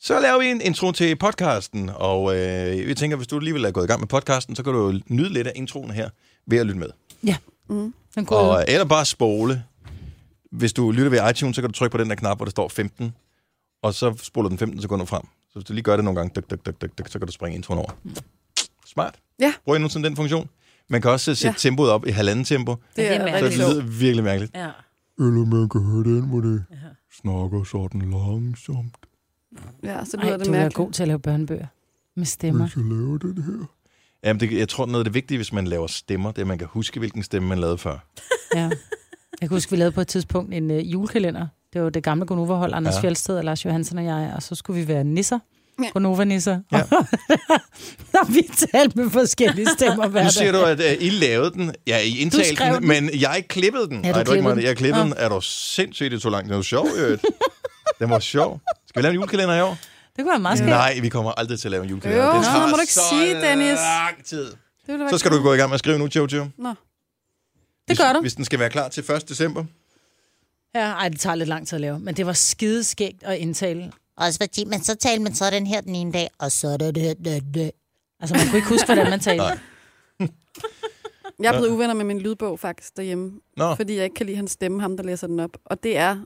Så laver vi en intro til podcasten, og øh, vi tænker, hvis du alligevel er gået i gang med podcasten, så kan du jo nyde lidt af introen her ved at lytte med. Ja. Mm. Den kunne Og, øh, eller bare spole. Hvis du lytter ved iTunes, så kan du trykke på den der knap, hvor der står 15, og så spoler den 15 sekunder frem. Så hvis du lige gør det nogle gange, dyk, dyk, dyk, dyk, dyk, så kan du springe introen over. Smart. Ja. Bruger I nogensinde den funktion? Man kan også øh, sætte ja. Ja. tempoet op i halvanden tempo, Det er så det mærkeligt. lyder virkelig mærkeligt. ja. Eller man kan høre den, hvor det snakker sådan langsomt. Ja, så lyder Ej, det du er mærkeligt. god til at lave børnebøger med stemmer. skal lave den her. Jamen, det, jeg tror, noget af det vigtige, hvis man laver stemmer, det er, at man kan huske, hvilken stemme man lavede før. Ja. Jeg kan huske, vi lavede på et tidspunkt en øh, julekalender. Det var det gamle Gonova-hold, Anders Ja. ja. Fjeldsted og Lars Johansen og jeg, og så skulle vi være nisser. Ja. Gonova-nisser. Ja. Ja. og vi talte med forskellige stemmer hver Nu dag. siger du, at uh, I lavede den. Ja, I Du indtalte skrev den, den, den. men jeg klippede den. Ja, det var du ikke klippede mig, den. Jeg klippede Nå. den. Er du sindssygt, det tog langt. Den var sjov, i øvrigt. Den var sjov. Skal vi lave en julekalender i år? Det kunne være meget skægt. Nej, vi kommer aldrig til at lave en julekalender. Jo, det sådan tager noget må du ikke så sige, Dennis. lang tid. Det ville da være Så skal du cool. gå i gang med at skrive nu, Jojo. Nå. Hvis- gør du. Hvis den skal være klar til 1. december. Ja, ej, det tager lidt lang tid at lave, men det var skideskægt at indtale. Også fordi, men så talte man så den her den ene dag, og så den her den anden dag. Altså, man kunne ikke huske, hvordan man talte. Nej. Jeg er blevet uvenner med min lydbog faktisk derhjemme, Nå, fordi jeg ikke kan lide hans stemme, ham der læser den op. Og det er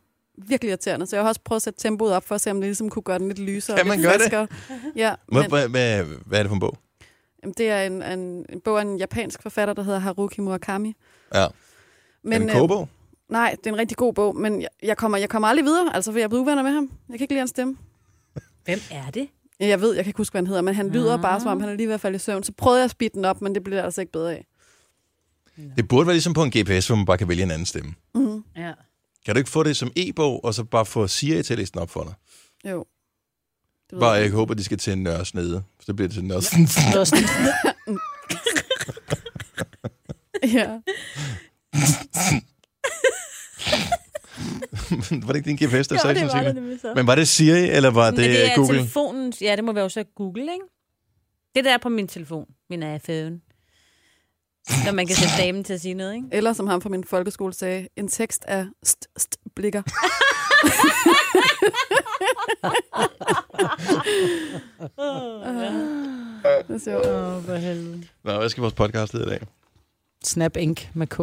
virkelig irriterende. Så jeg har også prøvet at sætte tempoet op for at se, om det ligesom kunne gøre den lidt lysere. Kan man lidt gøre det? friskere. Ja, hvad, men hvad, hvad, hvad er det for en bog? jamen, det er en, en, en bog af en japansk forfatter, der hedder Haruki Murakami. Ja. Men, er det en øh, kogebog? nej, det er en rigtig god bog, men jeg, jeg, kommer, jeg kommer aldrig videre, altså, for jeg er blevet uvenner med ham. Jeg kan ikke lide hans stemme. Hvem er det? Ja, Jeg ved, jeg kan ikke huske, hvad han hedder, men han lyder bare, Ah. som om han er lige ved at falde i søvn. Så prøvede jeg at speede den op, men det blev der altså ikke bedre af. Det burde være ligesom på en GPS, hvor man bare kan vælge en anden stemme. Mm-hmm. Ja. Kan du ikke få det som e-bog, og så bare få Siri til at læse den op for dig? Jo. Det ved Bare jeg jeg håber, de skal til en nørresnede. Så det bliver det til en nørresnede. Det var sådan, ikke. Ja. var det ikke din GPS, der jo, sagde sådan det var det cirka? nemlig så. Men var det Siri, eller var det, Men det er Google? telefonen. Ja, det må være jo så Google, ikke? Det der er på min telefon, min iPhone. Når man kan sætte damen til at sige noget, ikke? Eller som ham fra min folkeskole sagde, en tekst af st, st blikker. Ah. Det er sjovt. Åh, for helvede. Nå, hvad skal vores podcast hedde i dag? Snap Ink med K.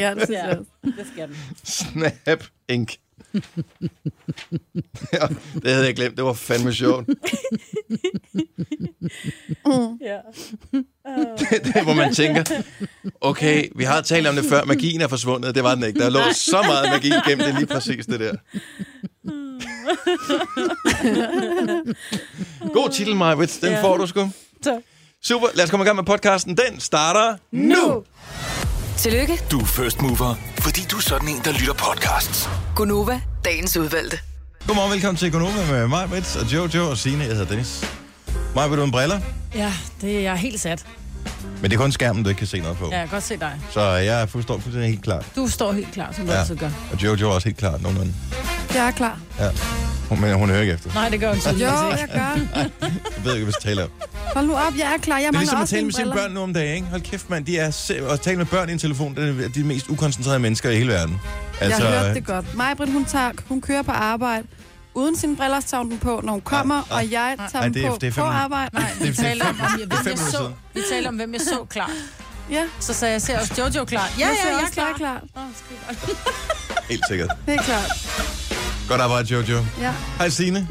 ja, det synes jeg også. Det skal den. Snap Inc. ja, det havde jeg glemt. Det var fandme sjovt. Ja. det, er, hvor man tænker, okay, vi har talt om det før, magien er forsvundet. Det var den ikke. Der lå så meget magi gennem det lige præcis det der. God titel, Majvits. Den Ja. får du sgu. Tak. Super, lad os komme i gang med podcasten. Den starter nu. Tillykke, Du er first mover, fordi du er sådan en, der lytter podcasts. Gunova, dagens udvalgte. Godmorgen, velkommen til Økonomi med mig, Brits, og Jojo og Signe. Jeg hedder Dennis. Mig, vil du en briller? Ja, det er jeg helt sat. Men det er kun skærmen, du ikke kan se noget på. Ja, Ja. jeg kan godt se dig. Så jeg forstår fuldstændig helt klart. Du står helt klar, som du Ja. ja. altid gør. Og Jojo er også helt klart nogenlunde. Jeg er klar. Ja. Hun- Men hun hører ikke efter. Nej, det gør hun Jo, tydeligvis ikke. jeg gør. Jeg ved ikke, hvad jeg taler om. Det Hold nu op, jeg er klar. Jeg er mangler ligesom at også tale mine med sine briller. børn nu om dagen. Ikke? Hold kæft, mand. De er se- at tale med børn i en telefon, det er de mest ukoncentrerede mennesker i hele verden. Altså, Jeg hørte det godt. Majbrit, hun, tager, hun kører på arbejde. Uden sine briller tager hun dem på, når hun kommer, Nej, nej. og jeg tager Nej, dem ah. det er- på det er Ah. på fandme- arbejde. Nej. Det er Vi taler om, fem- om jeg, det er fem hvem jeg minutter så, siden. vi taler om, hvem jeg så klar. Ja, Så sagde jeg, ser også Jojo klar. Ja, jeg ja, ser jeg er også, jeg er klar. klar. Helt sikkert. Det er klart. Godt arbejde, Jojo. Ja. Hej, Signe.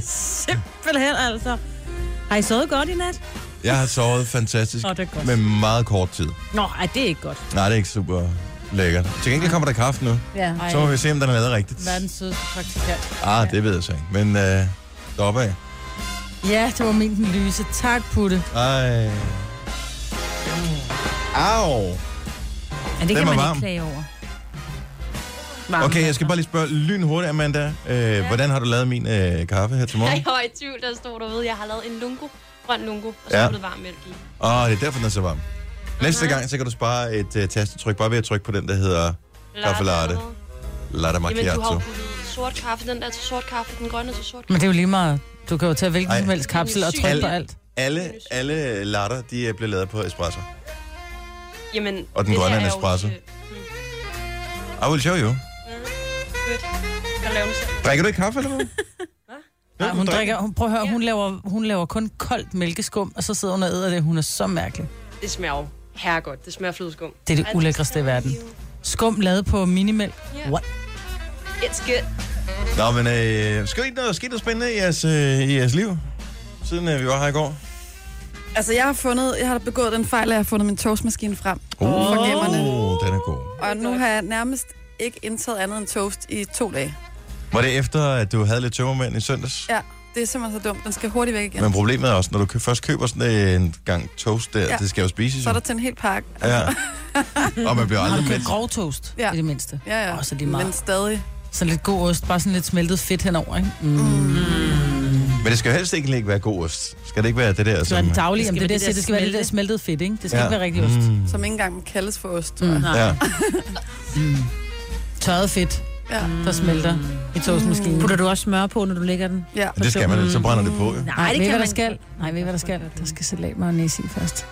Simpelthen altså. Har I sovet godt i nat? Jeg har sovet fantastisk Nå, det er godt. med meget kort tid. Nå, ej, det er ikke godt. Nej, det er ikke super lækkert. Til gengæld kommer der kaffe nu. Ja. Ej, Så må vi se, om den er lavet rigtigt. verdens sødeste praktikant. Ah, det ved jeg så ikke. Men øh, deroppe af. Ja, det var min den lyse. Tak, Putte. Ej. Au. Ja, det Den kan var man varm. ikke klage over. Varm. Okay, jeg skal bare lige spørge lynhurtigt, Amanda. Øh, Hvordan har du lavet min øh, kaffe her til Ej, morgen? jeg var i tvivl, der stod derude. Jeg har lavet en lungo, grøn lungo, og Ja. så ja. varm mælk i. Åh, oh, det er derfor, den er så varm. Næste gang, så kan du spare et øh, tastetryk, bare ved at trykke på den, der hedder Kaffe latte. Latte Jamen, du har jo Macchiato. puttet sort kaffe, den der til sort kaffe, den grønne til sort Men kaffe. det er jo lige meget. Du kan jo tage hvilken Ej. som helst kapsel og Syg. trykke på alt. Alle, alle latter, de øh, bliver lavet på espresso. Jamen, Og den det grønne er her en jo, espresso. øh, I will show you. fedt. Jeg laver den selv. Drikker du ikke kaffe eller hvad? Nej, hun drikker, hun, prøv at høre, hun, laver, hun laver kun koldt mælkeskum, og så sidder hun og æder det. Hun er så mærkelig. Det smager jo herregodt. Det smager flødeskum. Det er det ulækreste i verden. Skum lavet på minimælk. Ja. What? It's good. Nå, men øh, skal ikke noget, sket noget spændende i jeres, øh, i jeres liv, siden øh, vi var her i går? Altså, jeg har fundet, jeg har begået den fejl, at jeg har fundet min toastmaskine frem. Uh, Fornemmerne. den er god. Og nu har jeg nærmest ikke indtaget andet end toast i to dage. Var det efter, at du havde lidt tømmermænd i søndags? Ja, det er simpelthen så dumt. Den skal hurtigt væk igen. Men problemet er også, når du kø- først køber sådan øh, en gang toast der, ja. Ja. det skal jo spises. Så jo. er der til en hel pakke. Ja. Og man bliver Har aldrig du købt mæt. grov toast, Ja. ja. i det mindste? Ja, ja. Åh, så er det Men meget. stadig. Så lidt god ost, bare sådan lidt smeltet fedt henover, ikke? Mm. Men det skal jo helst ikke ikke være god ost. Skal det ikke være det der, Det skal være den daglige, Det jamen skal det, er det, være jeg siger, det der det skal være det der smelte. smeltet fedt, ikke? Det Ja. skal ja. ikke være rigtig ost. Mm. Som ikke engang kaldes for ost, tror jeg. Mm. Ja. Tørret fedt, Ja. der smelter i toastmaskinen. Putter du også smør på, når du lægger den? ja. Men det skal man, så brænder det på. Jo. Nej, det kan man der skal. Nej, ved I, hvad der skal? Der skal salat mayonnaise i først.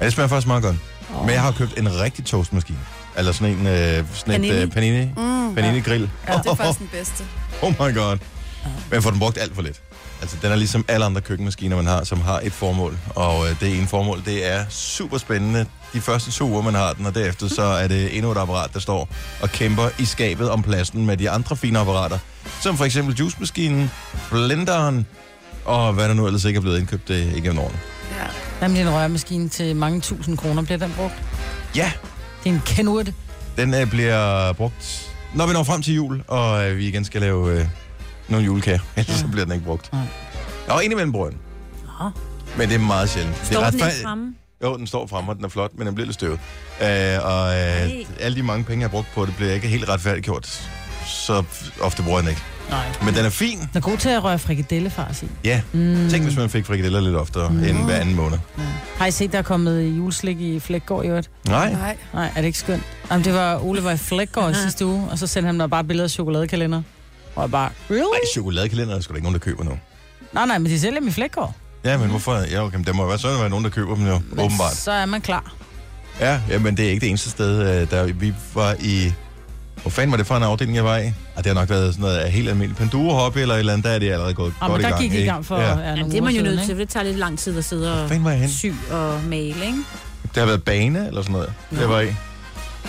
Ja, det smager faktisk meget godt. Men jeg har købt en rigtig toastmaskine. Eller sådan en øh, sådan et, Panini. øh, panini. Mm, Panini grill. ja, det er faktisk den bedste. Oh my god. Men jeg får den brugt alt for lidt. Altså, den er ligesom alle andre køkkenmaskiner, man har, som har et formål. Og øh, det ene formål, det er super spændende. De første to uger, man har den, og derefter så er det endnu et apparat, der står og kæmper i skabet om pladsen med de andre fine apparater. Som for eksempel juicemaskinen, blenderen, og hvad der nu ellers ikke er blevet indkøbt øh, igennem årene. Ja. Nemlig en rørmaskine til mange tusind kroner bliver den brugt. Ja, Det er en kendurte. Den øh, bliver brugt, når vi når frem til jul, og øh, vi igen skal lave øh, nogle julekager. Ellers så bliver den ikke brugt. Nej. Og indimellem bruger den. Nå. Men det er meget sjældent. Står det er den ikke fa- fremme? Jo, den står fremme, og den er flot, men den bliver lidt støvet. Øh, og øh, alle de mange penge, jeg har brugt på det, bliver ikke helt retfærdiggjort. Så f- ofte bruger jeg den ikke. Nej. Men den er fin. Den er god til at røre frikadellefars i. Ja. Mm. Tænk, hvis man fik frikadeller lidt oftere mm. end hver anden måned. Har I set, der er kommet juleslik i Flækgaard i øvrigt? Nej. Nej. Nej, er det ikke skønt? Jamen, det var Ole var i Flækgaard i sidste uge, og så sendte han mig bare billeder af chokoladekalender. Og jeg bare, Ej, really? chokoladekalender er der sgu da ikke nogen, der køber nu. Nej, nej, men de sælger dem i Flækgaard. Ja, men hvorfor? Ja, okay, men der må jo være sådan, at der er nogen, der køber dem jo, Men åbenbart. Så er man klar. Ja, ja, men det er ikke det eneste sted, øh, der vi var i... Hvor fanden var det for en afdeling, jeg var i? Og det har nok været sådan noget af helt almindelig Panduro-hobby eller et eller andet. Der er det allerede gået Og godt Ah, men i der gang. gik I i ikke? gang for Ja. ja. Hvor Ja, Jamen, nogle det er man uger jo nødt siden, til, for det tager lidt lang tid at sidde og fanden var jeg hen? sy og male, ikke? Det har været bane eller sådan noget, Nå. jeg var i.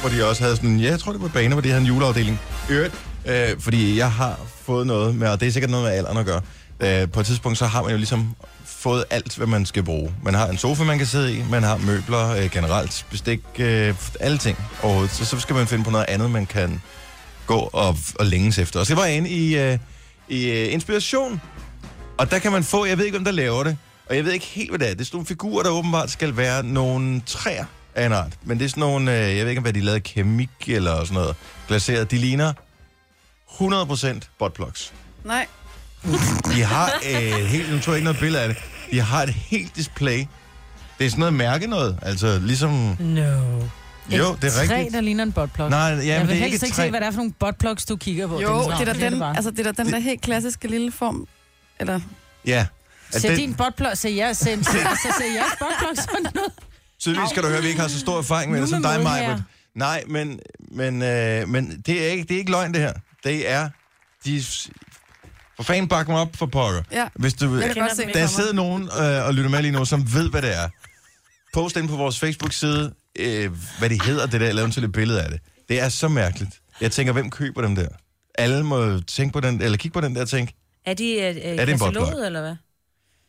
Hvor de også havde sådan... Ja, jeg tror, det var bane, hvor de havde en juleafdeling. I Øvrigt, øh, fordi jeg har fået noget med... Og det er sikkert noget med alderen at gøre. Øh, på et tidspunkt, så har man jo ligesom fået alt, hvad man skal bruge. Man har en sofa, man kan sidde i, man har møbler øh, generelt, bestik, øh, alle ting overhovedet. Så, så skal man finde på noget andet, man kan gå og, og længes efter. Og så var jeg inde i, øh, i øh, Inspiration, og der kan man få, jeg ved ikke, om der laver det, og jeg ved ikke helt, hvad det er. Det er sådan nogle figurer, der åbenbart skal være nogle træer af en art. Men det er sådan nogle, øh, jeg ved ikke, om hvad de er lavet af keramik eller sådan noget, glaseret. De ligner 100% botplugs. Nej. De har øh, helt, nu tror jeg ikke noget billede af det, de har et helt display. Det er sådan noget mærke noget, altså ligesom... No. Jo, det er Træ, rigtigt. der ligner en botplug. Nej, ja, jeg men vil det er helst ikke ikke, et se, træ. hvad det er for nogle botplugs, du kigger på. Jo, Dennis. det er da Nå, den, bare. altså, det er da den der helt klassiske lille form. Eller, Ja. Altså, At Se den- din botplug, se jeg, se, se, se, se jeres botplug sådan ud. Tydeligvis skal du høre, at vi ikke har så stor erfaring med Nu det som med dig, mad Maja. her. Nej, men, men, øh, men det, er ikke, det er ikke løgn, det her. Det er... De, for fanden bakke mig op for pokker. Ja. Hvis du, Jeg kan godt se det for der mig. sidder nogen øh, og lytter med lige nu, som ved, hvad det er. Post ind på vores Facebook-side, øh, hvad det hedder, det der, lav til et billede af det. Det er så mærkeligt. Jeg tænker, hvem køber dem der? Alle må tænke på den, eller kigge på den der og tænke, Er de øh, øh, en botplug? kataloget, eller hvad?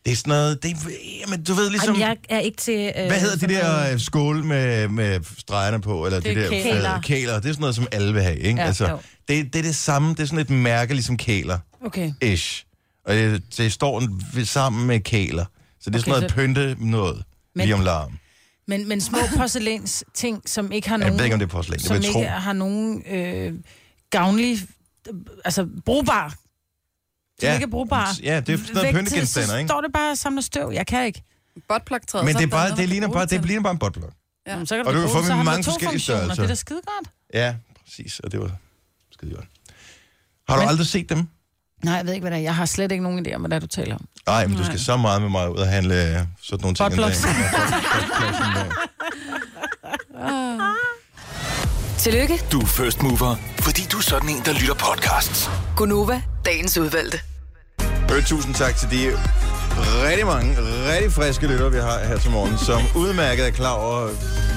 det er sådan noget, det er, jamen, du ved ligesom... Jamen, jeg er ikke til... Øh, Hvad hedder de sådan noget- der øh, skåle med, med stregerne på, eller det Det de er der kæler. kæler. kæler? Det er sådan noget, som alle vil have, ikke? Ja, altså, jo. det, det er det samme, det er sådan et mærke, ligesom kæler-ish. Okay. Og det, det står en- ved- sammen med kæler. Så det er okay, sådan Okay, noget så- pynte noget, Men- lige om larm. Men, men små porcelæns ting, som ikke har Jeg nogen... ved ikke, om det er porcelæn, det som vil jeg ikke tro. har nogen øh, gavnlig, altså brugbar. Som Ja. ja. ikke er brugbar. Ja, det er sådan noget Vægt til, pyntegenstander, ikke? Så står det bare og samler støv. Jeg kan ikke. botplugtræet. Men så det, er der bare, noget, det, man ligner kan bare, det bruge ligner bare en botblok. Ja. Jamen, Så kan Og du da kan bruge få den. Så dem i har den mange to forskellige funktioner. størrelser. Det er da skide godt. Ja, præcis. Og det var skide godt. Har du Men- aldrig set dem? Nej, jeg ved ikke, hvad det er. Jeg har slet ikke nogen idé om, hvad det er, du taler om. Nej, men du skal så meget med mig ud og handle øh, sådan nogle ting. en dag. Buttplugs. Ja, buttplugs en dag. Tillykke, Du er first mover, fordi du er sådan en, der lytter podcasts. Gunova, dagens udvalgte. Øh, tusind tak til de rigtig mange, rigtig friske lyttere, vi har her til morgen, som udmærket er klar over,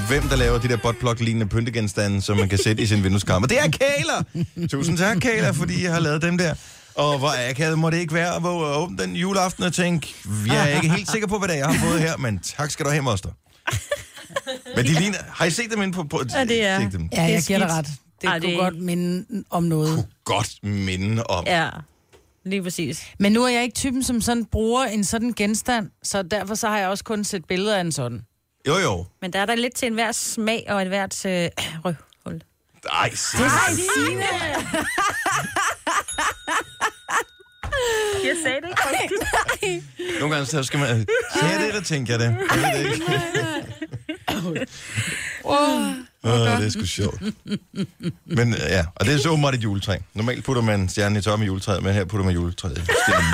hvem der laver de der botplug-lignende pyntegenstande, som man kan sætte i sin vindueskarm. Og det er Kæler! Tusind tak, Kæler, fordi I har lavet dem der. Og hvor akavet må det ikke være at våge åbent den juleaften og tænke, jeg er ikke helt sikker på, hvad det er, jeg har fået her, men tak skal du have, moster. Men de ligner... Har I set dem inde på... på Ja, det er. set Dem? Ja, jeg skidt. giver dig ret. Det Ej, Ej, kunne det er det... ikke- godt minde om noget. Godt minde om. Ja, lige præcis. Men nu er jeg ikke typen, som sådan bruger en sådan genstand, så derfor så har jeg også kun set billeder af en sådan. Jo, jo. Men der er der lidt til enhver smag og enhvert øh, røvhul. Ej, Signe. Jeg sagde det ikke. Nogle gange så skal man... Ser jeg det, eller tænker jeg det? Jeg ved det ikke. Åh, det er sgu sjovt. Men øh, ja, og det er så åbenbart et juletræ. Normalt putter man stjernen i toppen af juletræet, men her putter man juletræet i stjernen.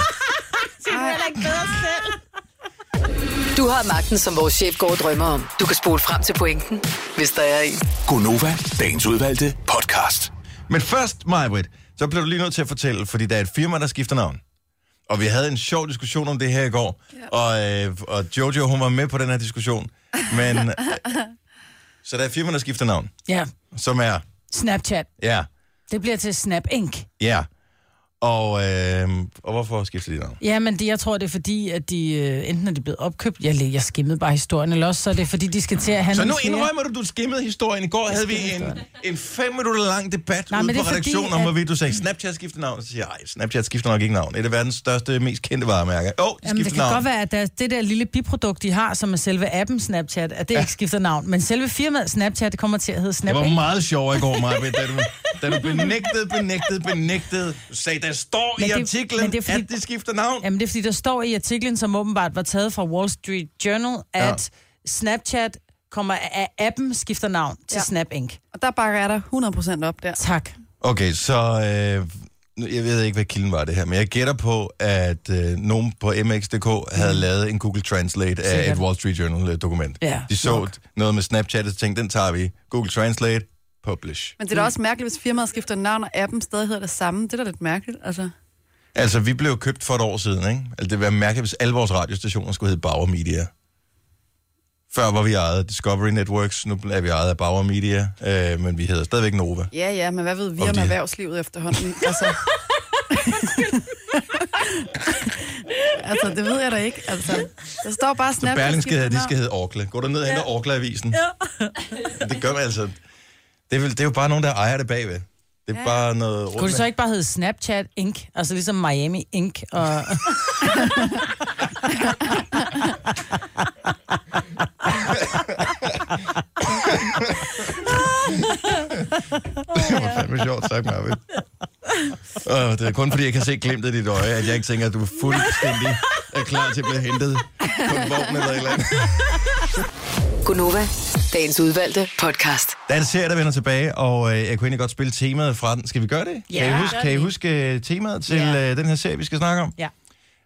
Du har magten, som vores chef går og drømmer om. Du kan spole frem til pointen, hvis der er en. Gonova, dagens udvalgte podcast. Men først, Majbrit, så bliver du lige nødt til at fortælle, fordi der er et firma, der skifter navn. Og vi havde en sjov diskussion om det her i går, og, øh, og Jojo, hun var med på den her diskussion. Men, øh, så der er et firma, der skifter navn, Ja, som er, Snapchat. ja, Det bliver til Snap Inc. Ja. Og, øh, og hvorfor skifter de navn? Ja, men det, jeg tror, det er fordi, at de øh, enten er de blevet opkøbt, jeg, læ- jeg skimmede bare historien, eller også så er det fordi, de skal til at handle Så nu flere- indrømmer du, du skimmede historien. I går havde vi en, en fem minutter lang debat Nej, Nej, ude men på det er fordi, redaktionen om, at- hvorvidt du sagde, Snapchat skifter navn. Så siger jeg, "Ej, Snapchat skifter nok ikke navn. Det er verdens største, mest kendte varemærke. Åh, oh, Jamen, det skifter kan navn. godt være, at der, det der lille biprodukt, de har, som er selve appen Snapchat, at det ja. ikke skifter navn. Men selve firmaet Snapchat, det kommer til at hedde Snap Det var Inc. meget sjovt i går, Maja, da du, da du benægtede, benægtede, benægtede. Du sagde, der står Men i det- artiklen, men det er fordi- at de skifter navn. Jamen, det er fordi, der står i artiklen, som åbenbart var taget fra Wall Street Journal, at ja. Snapchat kommer af appen skifter navn til ja. Ja. Snap Inc. Og der bakker jeg dig 100% op der. Tak. Okay, så øh, nu- jeg ved ikke, hvad kilden var det her, men jeg gætter på, at øh, nogen på MX.dk havde mm. lavet en Google Translate af Sikkert. et Wall Street Journal-dokument. Ja, De så noget med Snapchat, og så tænkte, den tager vi. Google Translate, publish. Men det er da også mærkeligt, hvis firmaet skifter navn, og appen stadig hedder det samme. Det er da lidt mærkeligt, altså. Altså, vi blev købt for et år siden, ikke? Altså, det ville være mærkeligt, hvis alle vores radiostationer skulle hedde Bauer Media. Før var vi ejet af Discovery Networks, nu er vi ejet af Bauer Media, øh, men vi hedder stadigvæk Nova. Ja, ja, men hvad ved vi Om om, de- erhvervslivet efterhånden? Altså. altså, det ved jeg da ikke. Altså, der står bare Så Snapchat. Berlingske skifter hedder, de navn. skal hedde Orkla. Går du ned og henter ja. Orkla-avisen? Ja. det gør man altså. Det er, vel, det er jo bare nogen, der ejer det bagved. Det er ja. bare noget Kunne rundt. det så ikke bare hedde Snapchat Inc.? Altså ligesom Miami Inc. Og... Det var fandme sjovt, tak Marvin. Og det er kun fordi, jeg kan se glimtet i dit øje, at jeg ikke tænker, at du er fuldstændig er klar til at blive hentet på en vogn eller et eller andet. Gunova, dagens udvalgte podcast. Der er en serie, der vender tilbage, og øh, jeg kunne egentlig godt spille temaet fra den. Skal vi gøre det? Ja, kan I huske, gør kan I huske øh, temaet til Ja. øh, den her serie, vi skal snakke om? Ja.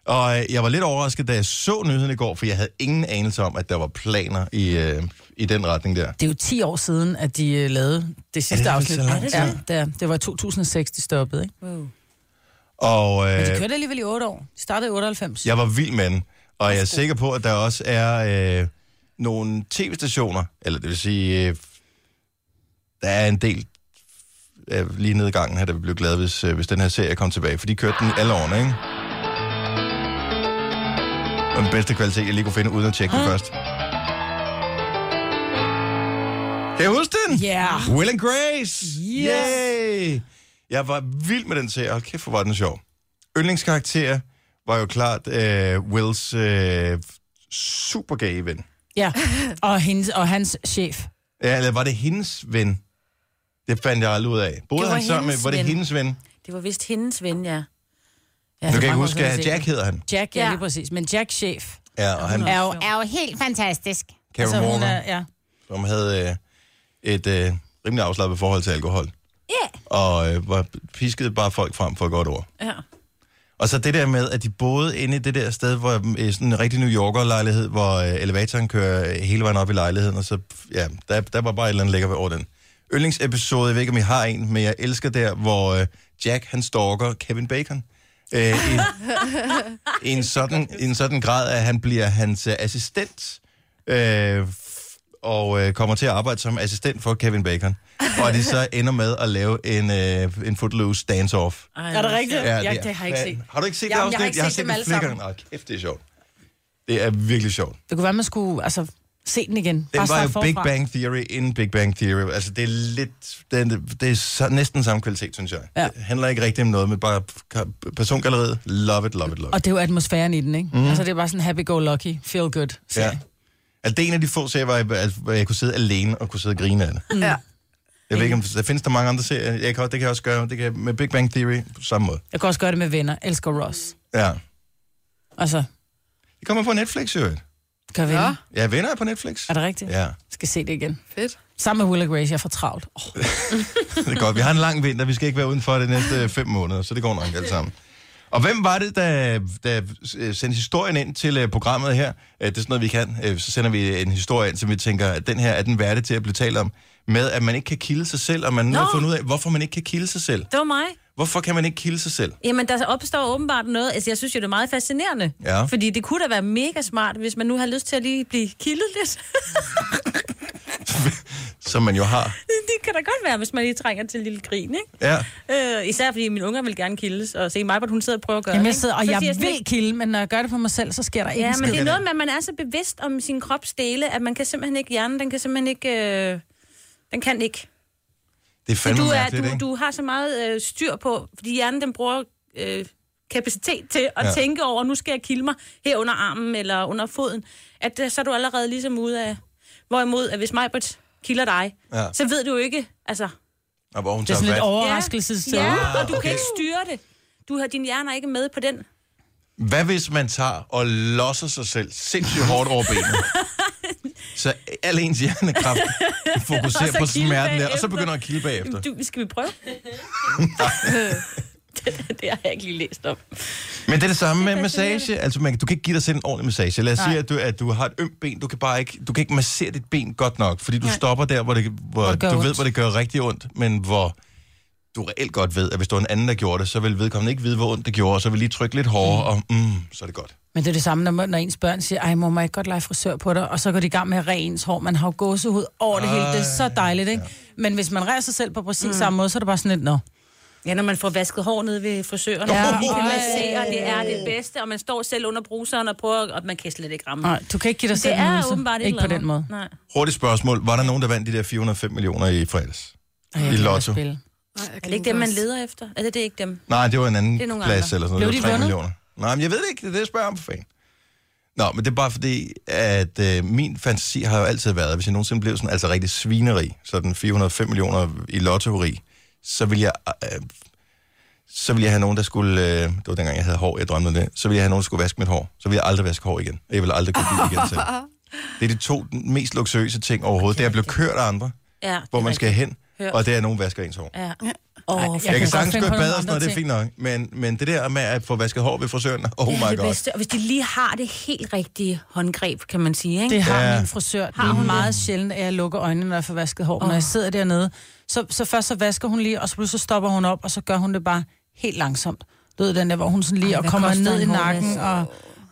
Og øh, jeg var lidt overrasket, da jeg så nyheden i går, for jeg havde ingen anelse om, at der var planer i, øh, i den retning der. Det er jo 10 år siden, at de øh, lavede det sidste så afsnit. lang tid? ja, det, er. det var i 2006, de stoppede, ikke? Og Men de øh, kørte alligevel i 8 år. De startede i 98. jeg var vild med den, og jeg er sikker på, at der også er øh, nogle tv-stationer, eller det vil sige, øh, der er en del øh, lige nede i gangen her, der ville blive glade, hvis, øh, hvis den her serie kom tilbage, for de kørte den alle årene, ikke? Og den bedste kvalitet, jeg lige kunne finde, uden at tjekke den først. Kan I huske den? Ja. Yeah. Will and Grace! Yay! Jeg var vild med den serie. Hold kæft, hvor var den sjov. Yndlingskarakter var jo klart øh, Wills øh, super gay ven. Ja. Og, hendes, og hans chef. Ja, eller var det hendes ven? Det fandt jeg aldrig ud af. Boede Det var han sammen med, hendes var det ven. hendes ven? Nu Det var vist hendes ven, ja. Ja, kan så jeg ikke mange år huske, siden, jeg at har set Jack hedder han. det. Jack, ja, Ja. lige præcis. Men Jack chef. Ja, og han, Er jo, er jo helt fantastisk. Karen altså, hun Morgan, er, ja. som havde øh, et øh, rimelig afslappet forhold til alkohol. Ja. Yeah. Og øh, var piskede bare folk frem for et godt ord. Ja. Og så det der med, at de boede inde i det der sted, hvor øh, sådan en rigtig New Yorker-lejlighed, hvor øh, elevatoren kører øh, hele vejen op i lejligheden, og så, ja, der, der var bare et eller andet lækker ved over den. yndlingsepisode, jeg ved ikke, om I har en, men jeg elsker der, hvor øh, Jack, han stalker Kevin Bacon. Øh, i, i, en sådan, I en sådan grad, at han bliver hans øh, assistent, øh, f- og øh, kommer til at arbejde som assistent for Kevin Bacon. Og de så ender med at lave en, øh, en Footloose dance-off. Er det rigtigt? Ja, er ja, det har jeg ikke set. Har du ikke set Jamen, det afsnit? jeg har ikke set dem alle flere sammen. gange. Åh, kæft, det er sjovt. Det er virkelig sjovt. Det kunne være, man skulle altså, se den igen. Den var starte jo forfra. Big Bang Theory inden Big Bang Theory. Altså, det er lidt... Den, det er så, næsten samme kvalitet, synes jeg. Ja. Det handler ikke rigtig om noget, men bare ka- persongalleriet. Love it, love it, love it. Og det er jo atmosfæren i den, ikke? Mm. Altså, det er bare sådan happy-go-lucky, feel good. Mhm. Ja. Ja. Altså, det er en af de få serier, hvor jeg, altså, hvor jeg kunne sidde alene og kunne sidde og grine af det. Ja. Jeg ved ikke, om der findes der mange andre serier. Jeg kan, det kan jeg også gøre det kan, jeg- med Big Bang Theory på samme måde. Jeg kan også gøre det med venner. Elsker Ross. Ja. Altså, Det kommer på Netflix, jo. gør vi ja. Ja, venner er på Netflix. Er det rigtigt? Ja, Skal se det igen. Fedt. Sammen med Will Grace, jeg er for travlt. Oh, det er godt. Vi har en lang vinter, vi skal ikke være udenfor de næste fem måneder, så det går nok alt sammen. Og hvem var det, der, der øh, sendte historien ind til øh, programmet her? Øh, Det er sådan noget, vi kan. Øh, Så sender vi en historie ind, som vi tænker, at den her er den værdig til at blive talt om. Med, at man ikke kan kilde sig selv, og man nu har fundet ud af, hvorfor man ikke kan kilde sig selv. Det var mig. Hvorfor kan man ikke kilde sig selv? Jamen, der opstår åbenbart noget. Altså, jeg synes jo, det er meget fascinerende. Ja. Fordi det kunne da være mega smart, hvis man nu har lyst til at lige blive kildet lidt. Som man jo har. det kan da godt være, hvis man lige trænger til en lille grin, ikke? Ja. Øh, især fordi mine unger vil gerne kildes, og se mig, hvor hun sidder og prøver at gøre Jamen, jeg ikke? sidder, og Så jeg siger sådan vil kilde, men når jeg gør det på mig selv, så sker der ikke Ja, en skid. men det skid. er noget med, at man er så bevidst om sin kropsdele, at man kan simpelthen ikke, hjernen, den kan simpelthen ikke, øh, den kan ikke. Det er Så fandme du, er, mærkeligt, ikke? du, du har så meget øh, styr på, fordi hjernen, den bruger øh, kapacitet til at Ja. ja. tænke over, nu skal jeg kilde mig her under armen eller under foden, at øh, så er du allerede ligesom ude af, hvorimod, at hvis Majbert kilder dig, Ja. ja. så ved du jo ikke, altså, Og hvor hun Det er tager sådan fat. lidt overraskelse. ja, Ja. Ah, og du kan ikke styre det. Du har, din hjerne er ikke med på den. Hvad hvis man tager og losser sig selv sindssygt hårdt over benet? så al ens hjernekraft fokuserer Og så på kilde smerten der, og så bagefter. begynder at kilde bagefter. Du, skal vi prøve? det, det har jeg ikke lige læst om. Men det er det samme med massage. Altså, man, du kan ikke give dig selv en ordentlig massage. Lad os sige, at du, at du har et ømt ben. Du kan bare ikke, du kan ikke massere dit ben godt nok, fordi du stopper der, hvor, det, hvor det gør du ved, ondt. hvor det gør rigtig ondt, men hvor du reelt godt ved, at hvis der var en anden, der gjorde det, så vil vedkommende ikke vide, hvor ondt det gjorde, og så vil lige trykke lidt hårdere, og mm, så er det godt. Men det er det samme, når, når ens børn siger, ej, mor, må jeg ikke godt lege frisør på dig? Og så går de i gang med at ræne ens hår. Man har jo gåsehud over det hele. Det er Ah, så dejligt, ikke? Men hvis man rærer sig selv på præcis mm. samme måde, så er det bare sådan lidt, nå. Ja, når man får vasket hår nede ved frisøren, Ja, ja, og man ej. masserer, det er det bedste, og man står selv under bruseren og prøver, og man kan slet ikke ramme. Nej, du kan ikke give dig Mm. det selv en er ydelse. åbenbart et Ikke på eller den måde. andet. Nej. Hurtigt spørgsmål. Var der nogen, der vandt de der 405 millioner i fredags? Ej, jeg I kan lotto. ikke spille. Ej, jeg Er kan det ikke dem, man leder efter? Altså, det er ikke dem. Nej, det var en anden er nogle plads andre. eller sådan Blev noget. Det de var 3 vundet? millioner. Nej, men jeg ved det ikke. Det er det, jeg spørger om for fanden. Nå, men det er bare fordi, at øh, min fantasi har jo altid været, at hvis jeg nogensinde blev sådan, altså rigtig svineri, sådan 405 millioner i lottori, så ville jeg... Øh, så ville jeg have nogen, der skulle... Øh, det var dengang, jeg havde hår, jeg drømte om det. Så ville jeg have nogen, der skulle vaske mit hår. Så ville jeg aldrig vaske hår igen. Jeg ville aldrig kunne blive igen selv. Det er de to mest luksuriøse ting overhovedet. Det er at blive kørt af andre, Ja, hvor man skal hen, Hør. og det er, at nogen vasker ens hår. Ja. Åh, Jeg Jeg, kan kan godt sagtens finde gå i på nogle bad og sådan noget, andre det er fint nok. Men, men det der med at få vasket hår ved frisøren, oh det er my det god. bedste. Og hvis de lige har det helt rigtige håndgreb, kan man sige, ikke? Det har Ja. ja. min frisør. Det er meget sjældent, at jeg lukker øjnene, når jeg får vasket hår. Oh. Når jeg sidder dernede, så, så først så vasker hun lige, og så pludselig så stopper hun op, og så gør hun det bare helt langsomt. Du ved den der, hvor hun sådan lige Ej, og hvad kommer koster ned i en nakken. hårvask?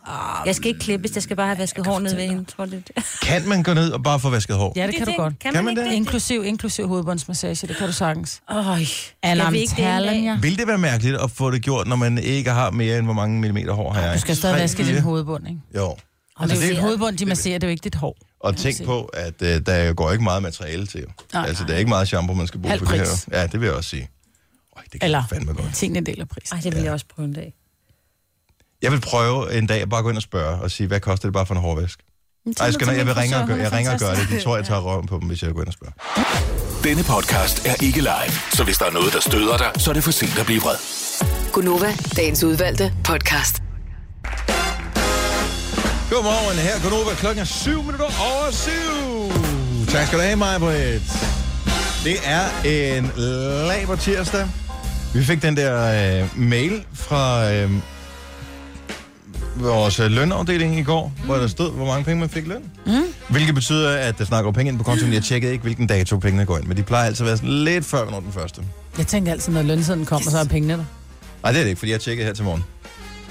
Og, Jeg skal ikke klippes, jeg skal bare have vasket hår ned ved hende, tror jeg, det. er det. Kan man gå ned og bare få vasket hår? ja, det kan du godt. Kan Kan man, man ikke det? det? Inklusiv, inklusiv hovedbåndsmassage, det kan du sagtens. Øj, Eller skal om vi ikke det en dag? talen, ja. Vil det være mærkeligt at få det gjort, når man ikke har mere end hvor mange millimeter hår har jeg? Du skal stadig Tre, vaske fire? din hovedbund, ikke? Jo. Altså, Og det er jo det- dit hovedbund, de masserer, det er jo ikke dit hår. Og tænk på, at øh, der går ikke meget materiale til. Nej, altså, nej. der er ikke meget shampoo, man skal bruge Halv for det pris. her. Ja, det vil jeg også sige. Øj, det kan Eller Eller... fandme godt. tingene deler pris. Ej, det vil jeg også prøve en dag. Jeg vil prøve en dag at bare gå ind og spørge og sige, hvad koster det bare for en hårvask? Ej, jeg, skal, nok- jeg vil ringe og gøre, jeg ringer og gør det. De tror, jeg tager røven på dem, hvis jeg går ind og spørger. Denne podcast er ikke live, så hvis der er noget, der støder dig, så er det for sent at blive vred. Gunova, dagens udvalgte podcast. Godmorgen, her er Konoba. Klokken er syv minutter over syv. Tak skal du have, Maja Britt. Det er en laber tirsdag. Vi fik den der øh, mail fra øh, vores øh, lønafdeling i går, mm. hvor der stod, hvor mange penge man fik i løn. Mm. Hvilket betyder, at der snakker jo penge ind på kontoen. Jeg tjekkede ikke, hvilken dato pengene går ind, men de plejer altid at være sådan lidt før, hvornår den første. Jeg tænker altid, når lønsiden kommer, så er pengene der. Nej, det er det ikke, fordi jeg tjekkede her til morgen.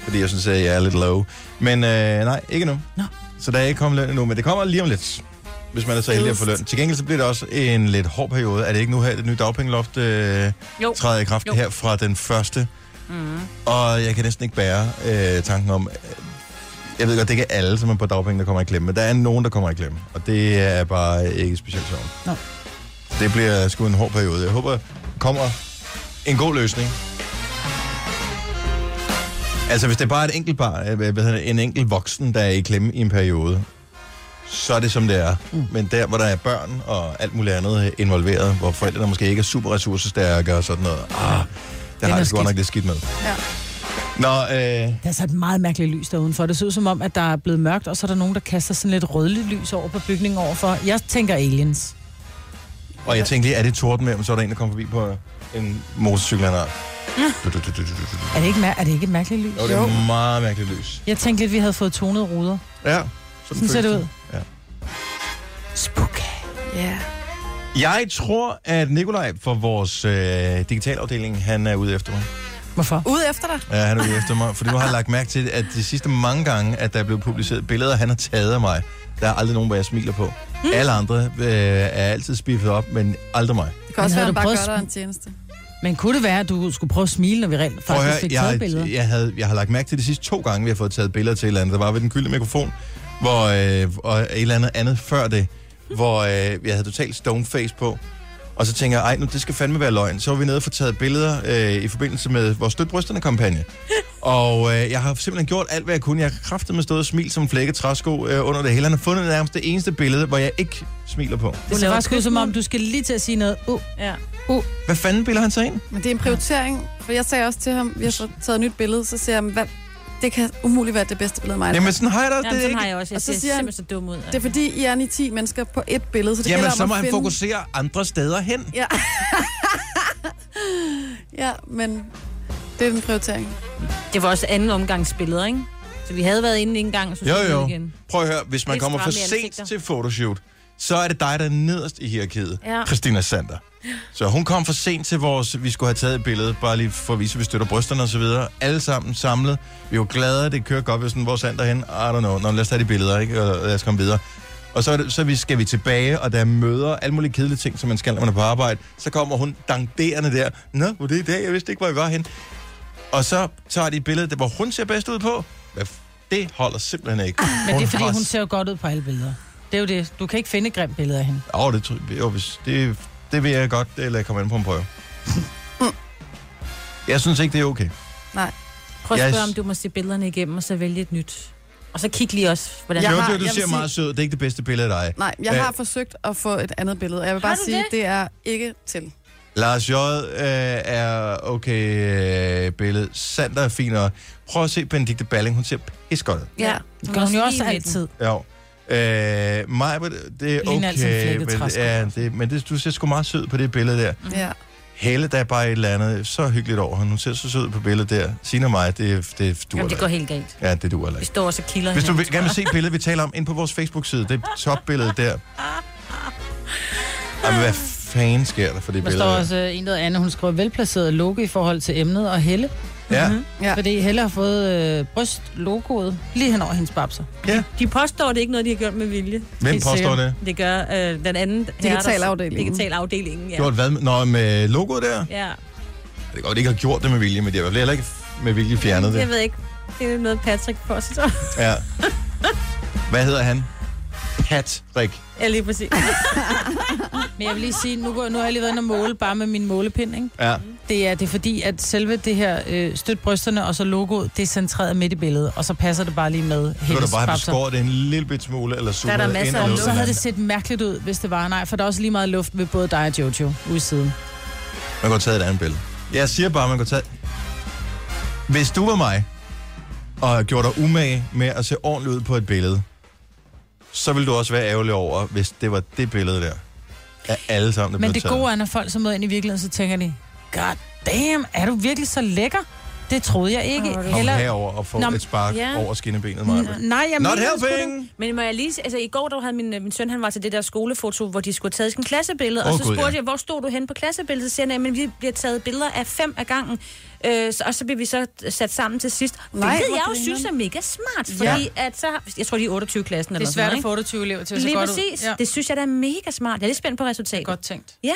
Fordi jeg synes, at jeg er lidt low. Men øh, nej, ikke nu. Nå. Så der er ikke kommet løn endnu, men det kommer lige om lidt, hvis man er så heldig at få løn. Til gengæld så bliver det også en lidt hård periode. Er det ikke nu her, det nye dagpengeloft øh, Jo. træder i kraft Jo. Mhm. her fra den første? Mm. Og jeg kan næsten ikke bære øh, tanken om... øh, Jeg ved godt, det er ikke alle, som er på dagpenge, der kommer i klemme, men der er nogen, der kommer i klemme. Og det er bare ikke specielt sjovt. Nå. Det bliver sgu en hård periode. Jeg håber, der kommer en god løsning. Altså, hvis det bare er et enkelt bar, øh, hvad hedder det, en enkelt voksen, der er i klemme i en periode, så er det, som det er. Mm. Men der, hvor der er børn og alt muligt andet involveret, hvor forældrene måske ikke er super ressourcestærke og sådan noget, ah, der har er jeg sgu godt skidt. nok lidt skidt med. Ja. Nå, øh, Der er så et meget mærkeligt lys der udenfor. Det ser ud som om, at der er blevet mørkt, og så er der nogen, der kaster sådan lidt rødligt lys over på bygningen overfor. Jeg tænker aliens. og jeg tænkte lige, er det torden med, så er der en, der kommer forbi på en motorcykel, han har. Er det ikke, mær- er det ikke et mærkeligt lys? Jo, det er meget mærkeligt lys. Jeg tænkte lidt, at vi havde fået tonet ruder. Ja, Sådan ser føles det ud. Ja. Spooky. Yeah. Jeg tror, at Nikolaj fra vores øh, digitalafdeling, han er ude efter mig. Hvorfor? Ude efter dig. Ja, han er ude efter mig, for du har jeg lagt mærke til, at de sidste mange gange, at der er blevet publiceret billeder, han har taget af mig, der er aldrig nogen, hvor jeg smiler på. Mm. Alle andre øh, er altid spiffet op, men aldrig mig. Det kan også havde være, at du han bare prøvet gør at sm- dig en tjeneste. Men kunne det være, at du skulle prøve at smile, når vi rent Prøv at høre, faktisk fik taget billeder? jeg, jeg, havde, jeg har lagt mærke til de sidste to gange, vi har fået taget billeder til et eller andet. Der var ved den gyldne mikrofon, hvor, øh, og et eller andet andet før det, hvor øh, jeg havde totalt stone face på. Og så tænker jeg, ej, nu det skal fandme være løgn. Så var vi nede og få taget billeder øh, i forbindelse med vores Støt Brysterne-kampagne. Og øh, jeg har simpelthen gjort alt, hvad jeg kunne. Jeg har kraftet med stået og smilt som en flække træsko øh, under det hele. Han har fundet nærmest det eneste billede, hvor jeg ikke smiler på. Det ser laver faktisk ud som om, du skal lige til at sige noget. Uh, Ja. Hvad fanden bilder han sig ind? Men det er en prioritering, for jeg sagde også til ham, vi har så taget et nyt billede, så siger jeg, hvad, det kan umuligt være det bedste billede af mig. Jamen, sådan har jeg da Jamen, det sådan ikke. har jeg også. Jeg Og så ser siger han- simpelthen så dum ud. Det er fordi, I er ni 10 mennesker på et billede, så det Jamen, gælder om så må at han finde... fokusere andre steder hen. Ja. ja, men det er en prioritering. Det var også anden omgangsbilleder, ikke? Så vi havde været inde en gang, så Jo, skulle vi ud jo. igen. Prøv at høre, hvis man Lidt kommer for stramme i sent ansigter. til fotoshoot, så er det dig, der er nederst i hierarkiet. Ja. Christina Sander. Så hun kom for sent til vores, vi skulle have taget et billede, bare lige for at vise, at vi støtter brysterne og så videre. Alle sammen samlet. Vi var glade, det kører godt, vi var sådan, hvor er Sander hen? I don't know. Nå, men lad os tage de billeder, ikke? Og lad os komme videre. Og så, er det, så er vi, skal vi tilbage, og der er møder, alle mulige kedelige ting, som man skal, når man er på arbejde. Så kommer hun dankderende der. Nå, hvor er det i dag? Jeg vidste ikke, hvor I var hen. Og så tager de et billede, der, hvor hun ser bedst ud på. Hvad f- det holder simpelthen ikke. Ah, men det er fordi, har hun ser jo godt ud på alle billeder. Det er jo det. Du kan ikke finde et grimt billede af hende. Åh, oh, det, tror- jo, hvis, det, det vil jeg godt øh, lade komme ind på en prøve. Mm. Jeg synes ikke, det er okay. Prøv at Jeg- spørge, om du må se billederne igennem, og så vælge et nyt. Og så kig lige også, hvordan... Jeg Jeg jo, har- har, du, jeg vil ser sige- meget sød ud. Det er ikke det bedste billede af dig. Nej, jeg Øh. har forsøgt at få et andet billede, og jeg vil bare du sige, det? det? det er ikke til. Lars J. Øh, er okay øh, billede. Sander er fin. Og prøv at se Benedikte Balling. Hun ser pis godt ud. Ja. Det gør hun jo også altid. Ja. Øh, Maja, det er Ligner altid en okay. flækket Men, træsko. ja, det, men det, du ser sgu meget sød på det billede der. Mm. Ja. Helle, der er bare et eller andet så hyggeligt over hende. Hun ser så sød ud på billedet der. Signe og mig, det, det duer Jamen, det heller ikke. går helt galt. Ja, det duer heller Vi ikke. står og så kilder Hvis du hinanden, vil, gerne vil se billedet, vi taler om, ind på vores Facebook-side. Det er topbilledet der. Jamen, hvad fanden sker der for det Der står billede? også øh, en eller anden, hun skriver velplaceret logo i forhold til emnet og Helle. Ja, Mm-hmm. Ja. Fordi Helle har fået øh, brystlogoet lige hen over hendes babser. ja. De påstår det er ikke noget, de har gjort med vilje. Hvem Helt påstår sikkert. det? Det gør øh, den anden... herre, der- Digitalafdelingen. Digitalafdelingen, ja. Gjort hvad? med- Nå, med logoet der? ja. Det er godt, de ikke har gjort det med vilje, men de har i hvert fald heller ikke med vilje fjernet Jeg det. ved ikke. Det er noget, Patrick påstår. Ja. Hvad hedder han? Patrick. ja, lige præcis. Men jeg vil lige sige, nu, går, nu har jeg lige været inde og måle bare med min målepind, ikke? Ja. Det er, det er fordi, at selve det her øh, støt brysterne og så logoet, det er centreret midt i billedet, og så passer det bare lige med Så kan Helles du bare have babser. beskåret det en lille bit smule, eller zoomet der ind masser eller af ud. Om, så havde det set mærkeligt ud, hvis det var. Nej, for der er også lige meget luft ved både dig og Jojo ude i siden. Man kunne have taget et andet billede. Jeg siger bare, man kunne tage... Hvis du var mig, og gjorde dig umage med at se ordentligt ud på et billede, så ville du også være ærgerlig over, hvis det var det billede der. Af alle sammen, der Men blev det taget. gode er, når folk så møder ind i virkeligheden, så tænker de, God damn, er du virkelig så lækker? Det troede jeg ikke. Åh, det- Kom Heller... herover og få Nå, et spark ja. over skinnebenet, Maja. N- Nej, jeg Not mener sgu da- helping! Men må jeg lige... Altså, i går, der havde min, øh, min søn, han var til det der skolefoto, hvor de skulle have taget sådan en klassebillede, Åh, og så Gud, spurgte ja. jeg, hvor stod du hen på klassebilledet? Så siger han, men vi bliver taget billeder af fem af gangen, øh, så, og så bliver vi så sat sammen til sidst. Nej, Nej, det hvor jeg jo grineren. synes er mega smart, fordi at så... har- Jeg tror, de er 28 klassen Det eller er sådan svært noget, at ikke? få 28 elever til at se Lige godt ud. præcis. Ja. Det synes jeg, der er mega smart. Jeg er lidt spændt på resultatet. Godt tænkt. Ja.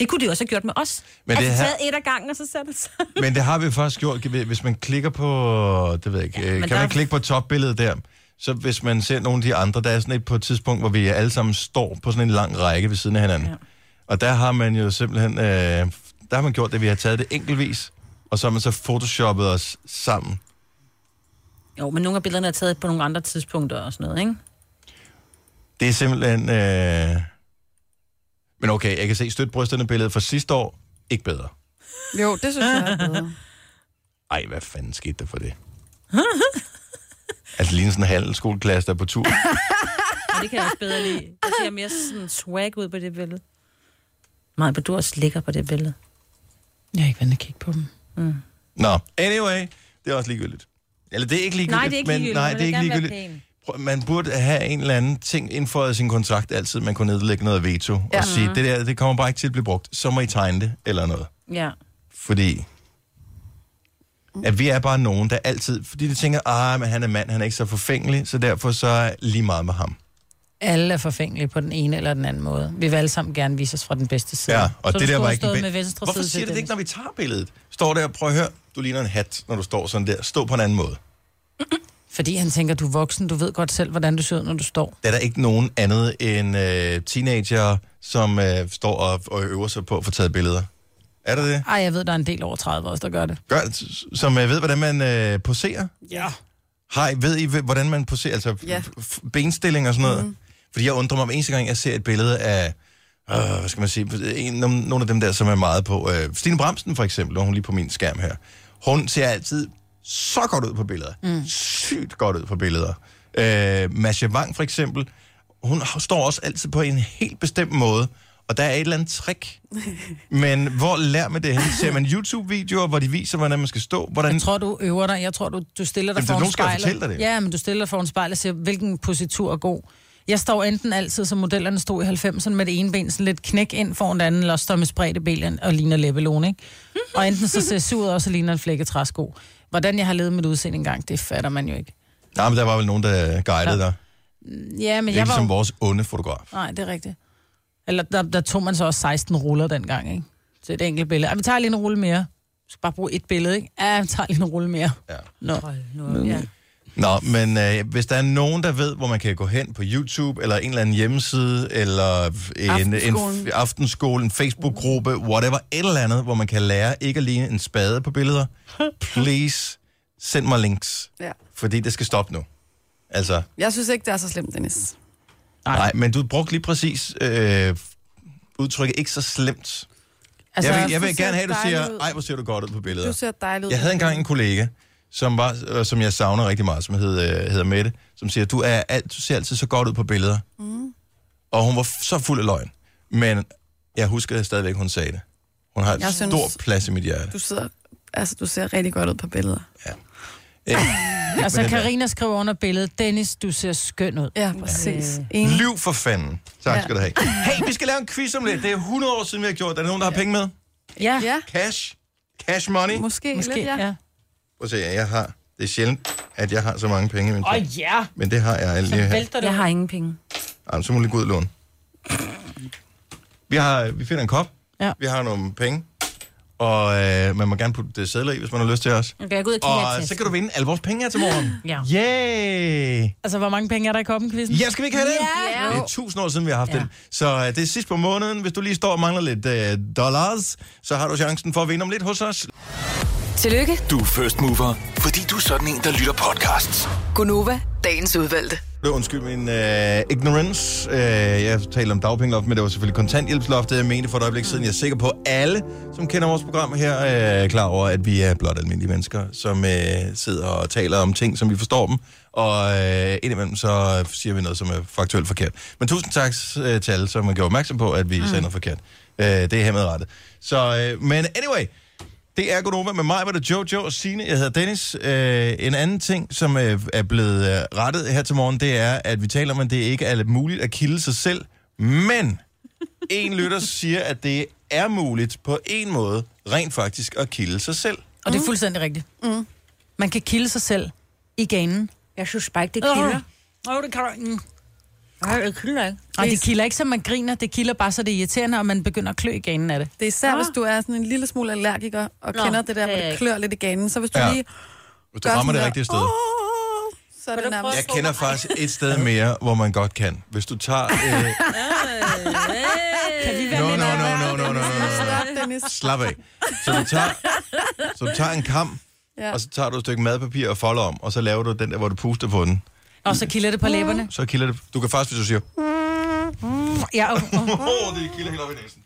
Det kunne de også have gjort med os. Men Men det det altså, her- taget et af gangen, og så satte det sammen. Men det har vi faktisk gjort. Hvis man klikker på, det ved jeg ikke, ja, kan men der... der- man klikke på topbilledet der, så hvis man ser nogle af de andre, der er sådan et på et tidspunkt, hvor vi alle sammen står på sådan en lang række ved siden af hinanden. Ja. Ja. Og der har man jo simpelthen, øh, der har man gjort det, vi har taget det enkeltvis, og så har man så photoshoppet os sammen. Jo, men nogle af billederne er taget på nogle andre tidspunkter og sådan noget, ikke? Det er simpelthen, øh... men okay, jeg kan se støtbrysterne billedet fra sidste år, ikke bedre. Jo, det synes jeg er bedre. Ej, hvad fanden skete der for det? altså, lige sådan en handelsskoleklasse, der er på tur. Og det kan jeg også bedre lide. Det ser mere sådan swag ud på det billede. Nej, men du er også lækker på det billede. Jeg har ikke været inde og kigge på dem. Nå, anyway, det er også ligegyldigt. Eller det er ikke ligegyldigt. Nej, Men, nej, det er ikke ligegyldigt. Man det er vil ikke gerne være ligegyldigt. Prøv, Man burde have en eller anden ting indføjet i sin kontrakt altid, man kunne nedlægge noget veto ja. Mm. og sige, det der, det kommer bare ikke til at blive brugt, så må I tegne det, eller noget. Ja. Fordi at vi er bare nogen, der altid, fordi de tænker, ah, men han er mand, han er ikke så forfængelig, så derfor så er lige meget med ham. Alle er forfængelige på den ene eller den anden måde. Vi vil alle sammen gerne vise os fra den bedste side. Ja, og så det så du der skulle var have ikke stået den med bedste. venstre Hvorfor side siger til det ikke, Dennis. når vi tager billedet? Står der, prøv at høre, du ligner en hat, når du står sådan der. Stå på en anden måde. Fordi han tænker, du er voksen, du ved godt selv, hvordan du ser ud, når du står. Der er der ikke nogen andet end øh, teenager, som øh, står og, og øver sig på at få taget billeder. Er der det? Ej, jeg ved, der er en del over 30 også, der gør det. Gør, som øh, ved, hvordan man øh, poserer? Ja. Har I, ved I, ved- hvordan man poserer? Altså ja. Ja. benstilling og sådan noget? Mm. Fordi jeg undrer mig, om eneste gang jeg ser et billede af, øh, hvad skal man sige, en, nogle nogle af dem der, som er meget på. Øh, Stine Bramsen for eksempel, hun er lige på min skærm her. Hun ser altid så godt ud på billeder. Mm. Sygt godt ud på billeder. Øh, Masha Wang for eksempel, hun står også altid på en helt bestemt måde. Og der er et eller andet trick. Men hvor lærer man det hen? Ser man YouTube-videoer, hvor de viser, hvordan man skal stå? Hvordan Jeg tror, du øver dig. Jeg tror, du, du stiller dig Jamen, foran nogen skal jo spejlet. fortælle dig det. Ja, men du stiller dig foran spejlet og siger, hvilken positur er god. Jeg står enten altid, som modellerne stod i 90'erne, med det ene ben sådan lidt knæk ind foran det andet, eller også står med spredte ben og ligner læbelon, ikke? Og enten så ser jeg sur ud, og så ligner en flække træsko. Hvordan jeg har levet mit udseende engang, det fatter man jo ikke. Nej, men der var vel nogen, der guidede ja. dig. Ja, men Det er jeg ikke ligesom var... som jo- vores onde fotograf. Nej, det er rigtigt. Eller der, der tog man så også 16 ruller dengang, ikke? Til et enkelt billede. Ej, vi tager lige en rulle mere. Vi skal bare bruge et billede, ikke? Ja, vi tager lige en rulle mere. Ja. Nå. Nu, ja. Nå, men øh, hvis der er nogen, der ved, hvor man kan gå hen på YouTube, eller en eller anden hjemmeside, eller en, en Aftenskolen. f- aftenskole, en Facebook-gruppe, whatever, et eller andet, hvor man kan lære ikke at ligne en spade på billeder, please send mig links, Ja. fordi det skal stoppe nu. Altså, Jeg synes ikke, det er så slemt, Dennis. nej, nej men du brugte lige præcis øh, udtrykket ikke så slemt. Altså, jeg vil, jeg vil du ser gerne have, at du dejlig siger, ud. ej, hvor ser du godt ud på billeder. Du ser dejlig ud. Jeg havde engang en kollega, som, var, øh, som jeg savner rigtig meget, som hed, øh, hedder Mette, som siger, du, er alt, du ser altid så godt ud på billeder. Mm. Og hun var f- så fuld af løgn. Men jeg husker stadigvæk, hun sagde det. Hun har en Jeg stor synes- plads i mit hjerte. Du sidder... Altså, du ser rigtig godt ud på billeder. Øh, Altså, den der- Karina skriver under billedet, Dennis, du ser skøn ud. Ja, præcis. Enig. Liv for fanden. Tak skal du have. Hey, vi skal lave en quiz om lidt. Det er 100 år siden, vi har gjort det. Er der nogen, der har penge med? Ja, Ja, Cash? Cash money? Prøv måske, måske. lidt, ja. Ja. at se, jeg har... Det er sjældent, at jeg har så mange penge. Men, ja, men det har jeg lige her. vælter Jeg har ingen penge. Jamen, så må du lige gå ud og låne. Vi, har, vi finder en kop. Ja. Vi har nogle penge. Og øh, man må gerne putte det sædler i, hvis man har lyst til os. Nu kan jeg gå ud og kigge Og så kan du vinde alle vores penge her til morgen. Ja. Yay! Altså, hvor mange penge er der i koppen, quizzen? Ja, skal vi ikke have det? Ja. Det er tusind år siden, vi har haft ja. Ja. den. Så øh, det er sidst på måneden. Hvis du lige står og mangler lidt øh, dollars, så har du chancen for at vinde om lidt hos os. Tillykke, Du er first mover, fordi du er sådan en, der lytter podcasts. Gunova, dagens udvalgte. Øh, Undskyld min øh, ignorance. Øh, jeg talte om dagpengeloftet, men det var selvfølgelig kontanthjælpsloftet, jeg mente for et øjeblik siden. Jeg er sikker på, at alle, som kender vores program her, øh, er klar over, at vi er blot almindelige mennesker, som øh, sidder og taler om ting, som vi forstår dem. Og øh, indimellem så siger vi noget, som er faktuelt forkert. Men tusind tak øh, til alle, som har gjort opmærksom på, at vi mm. sender forkert. Øh, det er hermed rettet. Så, øh, men anyway, Det er Godova med mig, hvor det er Jojo og Signe. Jeg hedder Dennis. Øh, en anden ting, som øh, er blevet øh, rettet her til morgen, det er, at vi taler om, at det ikke er muligt at kilde sig selv. Men en lytter siger, at det er muligt på en måde rent faktisk at kilde sig selv. Og det er fuldstændig rigtigt. Mm. Man kan kilde sig selv i ganen. Jeg synes bare ikke, det kilder. kilder. Åh, det kan du ikke. Nej, det kilder ikke. Nej, det kilder ikke, så man griner. Det kilder bare, så det er irriterende, og man begynder at klø i ganen af det. Det er især, hvis du er sådan en lille smule allergiker, og Nå, Nå, kender det der, hvor det er jeg det ikke. klør lidt i ganen. Så hvis du Ja. ja. lige Hvis du gør rammer sådan det der, rigtige sted. "Åh", så er det du prøve nærmest... Jeg kender faktisk et sted mere, hvor man godt kan. Hvis du tager... Øh, Kan vi no, no, no, no, no, no, no, no. Stop, Dennis. Slap af. Så du tager, så du tager en kam, Ja. og så tager du et stykke madpapir og folder om, og så laver du den der, hvor du puster på den. Og så kilder det på læberne. Så kilder det. Du kan faktisk, hvis du siger, åh, Ja, og, og. oh, det kilder helt op i næsen.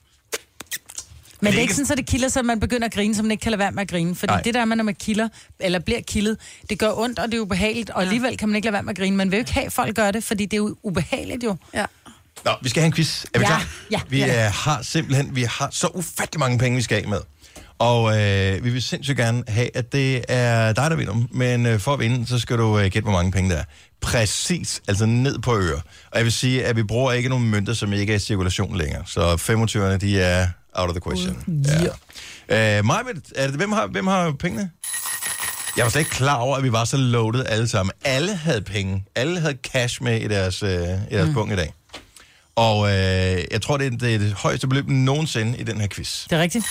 Men det er ikke sådan, så det kilder, så man begynder at grine, så man ikke kan lade være med at grine. Fordi Nej. Nej. det der med, når man kilder, eller bliver kildet, det gør ondt, og det er ubehageligt, og alligevel kan man ikke lade være med at grine. Man vil jo ikke have, at folk gør det, fordi det er jo ubehageligt jo. Ja. Nå, vi skal have en quiz. Er vi Ja, klar? ja, vi ja. Er, har simpelthen vi har så ufattelig mange penge, vi skal af med. Og øh, vi vil sindssygt gerne have, at det er dig, der vinder dem. Men øh, for at vinde, så skal du øh, gætte, hvor mange penge der er. Præcis, altså ned på øre. Og jeg vil sige, at vi bruger ikke nogen mønter, som ikke er i cirkulation længere. Så 25'erne, de er out of the question. Ja. Øh, Maja, er det, hvem, har, hvem har pengene? Jeg var slet ikke klar over, at vi var så loaded alle sammen. Alle havde penge. Alle havde cash med i deres, øh, i deres mm. punkt i dag. Og øh, jeg tror, det er det, er det højeste beløb nogensinde i den her quiz. Det er rigtigt.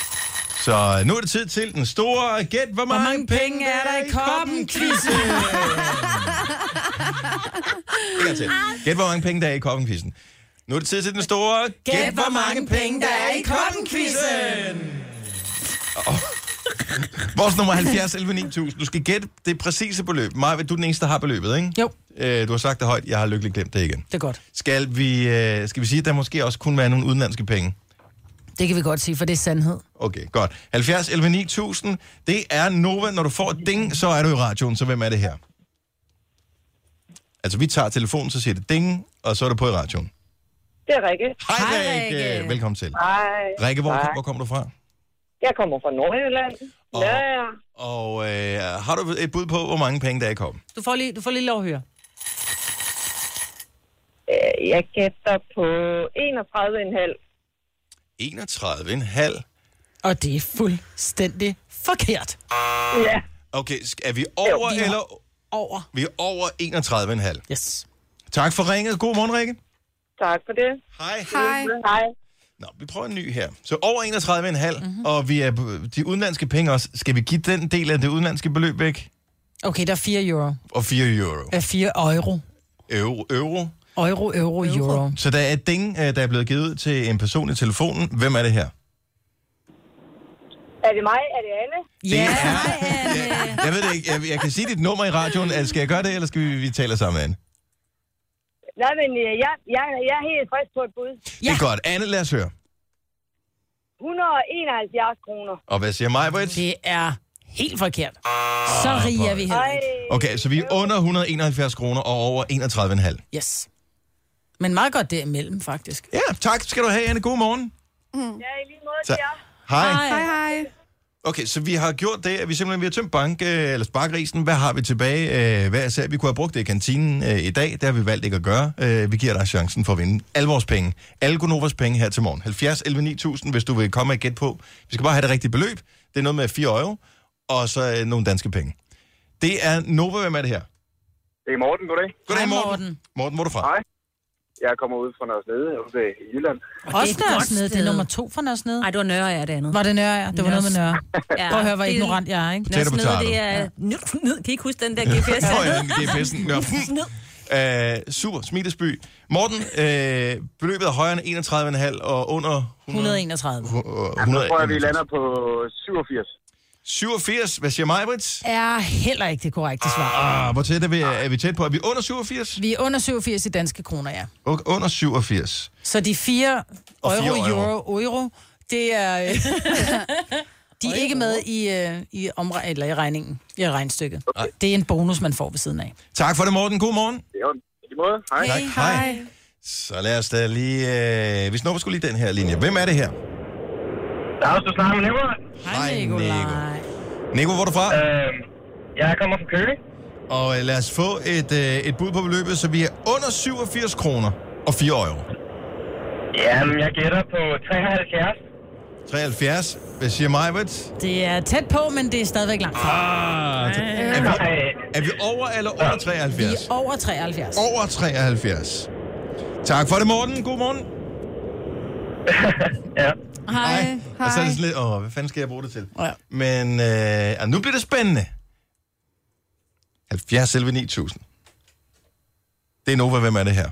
Så øh, nu er det tid til den store gæt. Hvor, Hvor mange penge er der i koppen, Kvisse? En gang til. Gæt, hvor mange penge der er i koppen quizzen. Nu er det tid til den store Gæt, hvor mange penge der er i koppen, Kvisse? Vores nummer er 70 11 9000. Du skal gætte det præcise beløb. Maja, du er den eneste, der har beløbet, ikke? Jo, Øh, du har sagt det højt. Jeg har lykkeligt glemt det igen. det er godt. Skal vi, øh, skal vi sige, at der måske også kunne være nogle udenlandske penge? Det kan vi godt sige, for det er sandhed. Okay, godt. 70 11 9000. Det er Nova. Når du får et ding, så er du i radioen. Så hvem er det her? Altså, vi tager telefonen, så siger det ding, og så er du på i radioen. Det er Rikke. Hej, Hej, Rikke. Rikke. Velkommen til. Hej. Rikke, hvor, Hej. hvor kommer du fra? Jeg kommer fra Nordjylland. Og- Ja, ja. Og øh, har du et bud på, hvor mange penge der er i koppen? Du får lige, du får lige lov at høre. Øh, Jeg gætter på 31,5. 31,5. Og det er fuldstændig forkert Ja. Okay, sk- er vi over, Jo, vi er- eller... over. Vi er over 31,5. Yes. Tak for ringet. God morgen, Rikke. Tak for det. Hej. Hej. Hej. Nå, vi prøver en ny her. Så over 31,5, mm-hmm. og vi er på- de udenlandske penge også. Skal vi give den del af det udenlandske beløb væk? Okay, der er 4 euro. Og 4 euro. Er 4 euro. Euro, euro. Euro, euro, euro. Så der er et ding, øh, der er blevet givet ud til en person i telefonen. Hvem er det her? Er det mig? Er det Anne? Det er... Jeg, jeg ved det ikke. Jeg, jeg kan sige dit nummer i radioen. Altså, Skal jeg gøre det, eller skal vi, vi tale sammen, Anne? Nej, men øh, jeg, jeg, jeg er helt frisk på et bud. Ja. Det er godt. Anne, lad os høre. 171 kroner. Og hvad siger mig, Det er helt forkert. Så rige er vi heller Ej. ikke. Okay, så vi er under 171 kroner og over 31,5. Yes. Men meget godt derimellem, faktisk. Ja, tak skal du have, Anne. God morgen. Mm. Ja, i lige måde Så- til jer. Hej. Hej, hej. Okay, så vi har gjort det, at vi simpelthen vi har tømt bank, øh, eller sparkrisen. Hvad har vi tilbage? Øh, hvad er Vi kunne have brugt det i kantinen øh, i dag. Det har vi valgt ikke at gøre. Øh, vi giver dig chancen for at vinde alle vores penge. Alle Gunovas penge her til morgen. 70 11 9000, hvis du vil komme og gætte på. Vi skal bare have det rigtige beløb. Det er noget med 4 euro, og så øh, nogle danske penge. Det er Nova, hvem er det her? Det er Morten, goddag. Goddag, Hej, Morten. Morten. Morten, hvor er du fra? Hej. Jeg kommer ud fra Nørresnede ude i Jylland. Også det er et godt Nørresnede. Det er sted. nummer to for Nørresnede. Nej, det var nørre af det andet. Var det Nørre? ja? Det var noget med Nørre. Ja, Prøv at høre, hvor det- ignorant jeg er, ikke? Tættere på Nørre Snede, tarmen. det er... Ned, ned. Kan I ikke huske den der GPS? Nå ja, det er festen. Nå. Uh, super, Smidesby. Morten, øh, beløbet er højere end 31,5 og under 100. 131. Ja, nu tror jeg, vi lander på 87. 87, hvad siger mig, Brits? Er heller ikke det korrekte svar. Ah, hvor tæt er vi, er vi tæt på? Er vi under 87? Vi er under 87 i danske kroner, ja. Okay, under 87. Så de 4 Og fire euro, euro. euro, euro, det er... øh, de er ikke med i, øh, i, omre- eller i regningen, i regnstykket. Det er en bonus, man får ved siden af. Tak for det, Morten. God morgen. Det er jo i lige måde. Hej. Tak. Hej. Så lad os da lige... Øh, vi snupper skulle lige den her linje. Hvem er det her? Dags, du snakker med Nico. Hej, Nikolaj. Nico, hvor er du fra? Øh, jeg kommer fra Køge. Og øh, lad os få et, øh, et bud på beløbet, så vi er under 87 kroner og 4 euro. Jamen, jeg gætter på 73. 73. Hvad siger Majbert? Det er tæt på, men det er stadigvæk langt fra. Ah, t- Ej. er, vi, er vi over eller under 73? Over 73. Over 73. Tak for det, Morten. God morgen. ja. Hej. Og så er det sådan lidt, åh, hvad fanden skal jeg bruge det til? Ja. Men øh, ja, nu bliver det spændende. 70 selv 9000. Det er Nova, hvem er det her?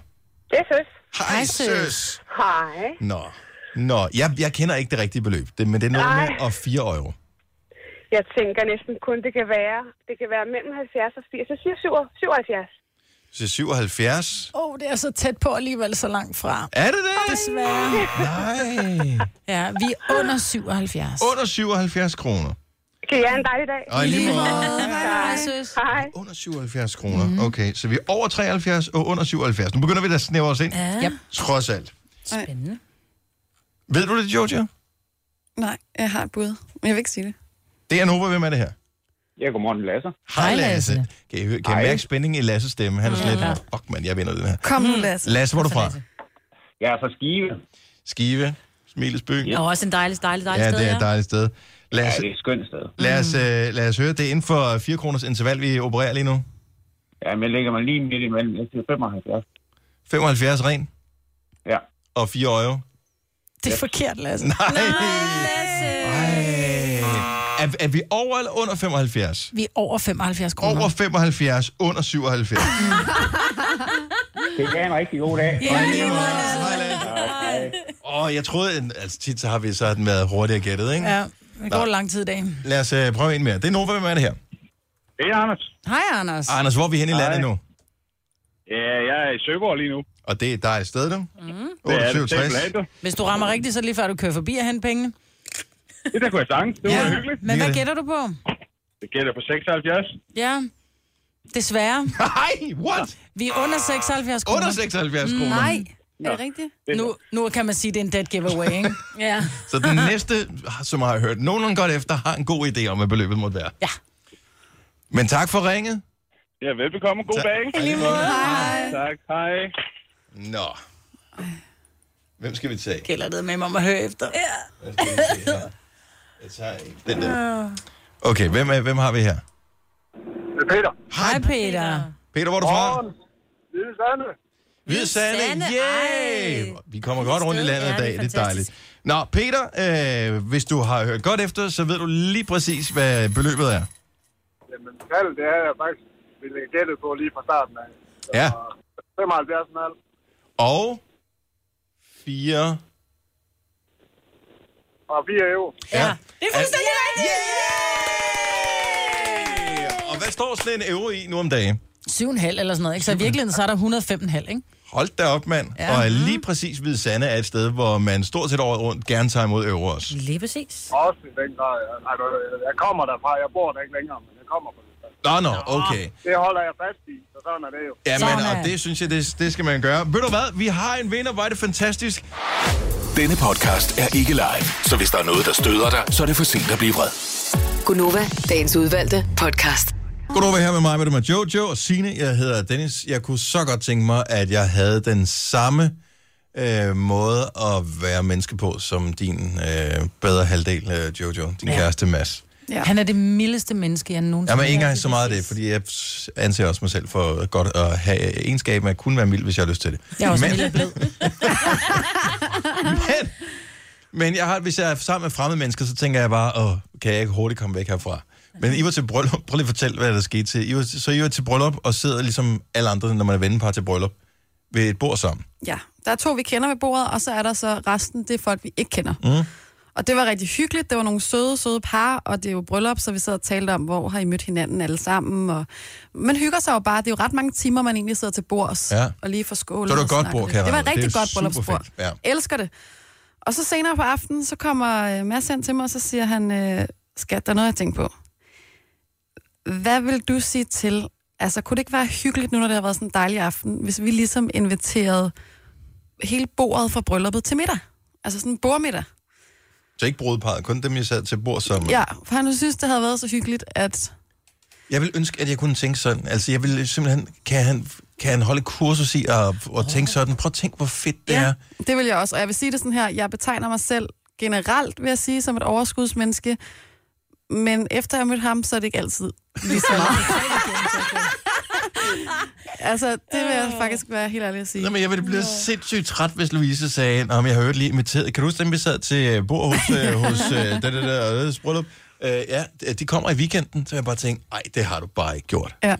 Det er søs. Hej, søs. Hej. Nå. Nå, jeg, jeg kender ikke det rigtige beløb, det, men det er noget Nej. med og 4 euro. Jeg tænker næsten kun, det kan være, det kan være mellem 70 og 80. Jeg siger 77. Så 77. Åh, oh, det er så tæt på alligevel så langt fra. Er det det? Desværre. Nej. Ja, vi er under 77. Under 77 kroner. Kan I have en dejlig dag? Og i lige måde. Hej, hej, søs. Hej. Under 77 kroner. Mm. Okay, så vi er over 73 og under 77. Nu begynder vi da at snævre os ind. Ja. Yep. Trods alt. Spændende. Ved du det, Georgia? Nej, jeg har et bud, men jeg vil ikke sige det. Det er Nova, hvem er det her? Ja, godmorgen, Lasse. Hej, Lasse. Kan I, hø- kan I Hej. mærke spændingen i Lasses stemme? Han er sådan lidt, fuck mand, jeg vinder den her. Kom Hmm. nu, Lasse. Lasse, hvor er du fra? Jeg er fra Skive. Skive, Smilesby. Det er også en dejlig, dejlig, dejlig Ja, sted, det er et dejligt sted. Ja, Lasse, det er et skønt sted. lad, os, øh, lad os høre, det er inden for 4 kroners interval, vi opererer lige nu. Jamen, jeg lægger mig lige midt imellem. Jeg siger 75. 75 ren Ja. og 4 euro. Det er forkert, Lasse. Nej! Ej. Er, er vi over eller under 75? Vi er over 75 kroner. Over 75, under 77. Det er en rigtig god dag. Ja, lige måde, Lasse. Åh, jeg troede, en- altså tit så har vi så den været hurtigere gættet, ikke? Ja, det går lang tid i dag. Lad os øh, prøve en mere. Det er Nova, hvem er det her? Det er Anders. Hej, Anders. Ah, Anders, hvor er vi henne i Hej. landet nu? Ja, jeg er i Søborg lige nu. Og det er dig et sted, du? Mm. 68. Hvis du rammer rigtigt, så er det lige før du kører forbi og henter pengene. Det der kunne jeg sange. Det Ja. Men Lige hvad det. gætter du på? Det gælder på 76. Ja, desværre. Nej, what? Vi er under 76 kroner. Under 76 kroner. Nej, Er det rigtigt? nu, nu kan man sige, at det er en dead giveaway, ikke? Ja. Så den næste, som har hørt nogenlunde godt efter, har en god idé om, hvad beløbet måtte være. Ja. Men tak for ringet. Ja, velbekomme. God dag. Hej. Tak. Hej. Nå. Hvem skal vi tage? Gælder det med mig om at høre efter. Ja. Hvad skal vi se her? Jeg tager en. Den der. Okay, hvem, er, hvem har vi her? Det er Peter. Hej, Peter. Peter, hvor er du fra? Morgen. Lille Sande. Hvide Sande, Sande, yay! ej. Vi kommer godt rundt i sted. landet i Ja, det er dag, det er dejligt. fantastisk. Nå, Peter, øh, hvis du har hørt godt efter, så ved du lige præcis, hvad beløbet er. Jamen, tallet, det er jeg faktisk ville gætte på lige fra starten af. Ja, 75 og alt. og 4... Og 4 euro. Ja, det er fuldstændig rigtigt! Og hvad står sådan en euro i nu om dagen? 7,5 eller sådan noget, ikke? Så i virkeligheden, så er der 105,5, ikke? Hold da op, mand. Ja. Og lige præcis Hvide Sande er et sted, hvor man stort set året rundt gerne tager imod euro også. Lige præcis. Også i den grad. Jeg, altså, jeg kommer derfra. Jeg bor der ikke længere, men jeg kommer fra det. Nå, nå, okay. Det holder jeg fast i, så sådan er det jo. Ja, men, Sådan. og det synes jeg, det, det skal man gøre. Ved du hvad? Vi har en vinder. Hvor er det fantastisk. Denne podcast er ikke live, så hvis der er noget, der støder dig, så er det for sent at blive vred. Gunova, dagens udvalgte podcast. Goddag, være her med mig, med, det med Jojo og Sine. Jeg hedder Dennis. Jeg kunne så godt tænke mig, at jeg havde den samme øh, måde at være menneske på, som din øh, bedre halvdel, øh, Jojo. Din ja. kæreste, Mads. Ja. Han er det mildeste menneske, jeg nogensinde Jamen, ikke har engang set. så meget af det, fordi jeg anser også mig selv for godt at have egenskaben at kunne være mild, hvis jeg har lyst til det. Jeg er også Men- mild og blød. men, men jeg har, hvis jeg er sammen med fremmede mennesker, så tænker jeg bare, Åh, kan jeg ikke hurtigt komme væk herfra? Men I var til bryllup, prøv lige at fortælle, hvad der skete til. I var, så I var til bryllup og sidder ligesom alle andre, når man er vennepar til bryllup, ved et bord sammen. Ja, der er to, vi kender ved bordet, og så er der så resten, det er folk, vi ikke kender. Mm. Og det var rigtig hyggeligt, det var nogle søde, søde par, og det er jo bryllup, så vi sad og talte om, hvor har I mødt hinanden alle sammen. Og... Man hygger sig jo bare, det er jo ret mange timer, man egentlig sidder til bords, Ja. og lige får skål. Så det var et godt bord, kan jeg Det var regne et ud. rigtig Det er godt super bryllupsbord. fedt, ja. Elsker det. Og så senere på aftenen, så kommer øh, Mads hen til mig, og så siger han, øh, skat, der er noget, jeg tænker på. Hvad vil du sige til, altså kunne det ikke være hyggeligt nu, når det har været sådan en dejlig aften, hvis vi ligesom Mm. inviterede hele bordet fra brylluppet til middag? Altså sådan en bordmiddag. Så ikke brudeparret, kun dem, jeg sad til bord sammen med. Ja, for han synes, det havde været så hyggeligt, at... Jeg vil ønske, at jeg kunne tænke sådan. Altså, jeg vil simpelthen... Kan han, kan han holde kursus i at, at tænke sådan? Prøv at tænke, hvor fedt det ja. er. Det vil jeg også, og jeg vil sige det sådan her, jeg betegner mig selv generelt, vil jeg sige, som et overskudsmenneske, men efter jeg mødte ham, så er det ikke altid lige så meget. altså, det vil jeg faktisk være helt ærlig at sige. Nå, men jeg ville blive sindssygt træt, hvis Louise sagde, at jeg har hørt lige inviteret. Kan du huske dem, vi sad til øh, bord hos, øh, hos øh, det, det der øh, bryllup? Øh, ja, de kommer i weekenden, så jeg bare tænkte, nej, det har du bare ikke gjort. Ja.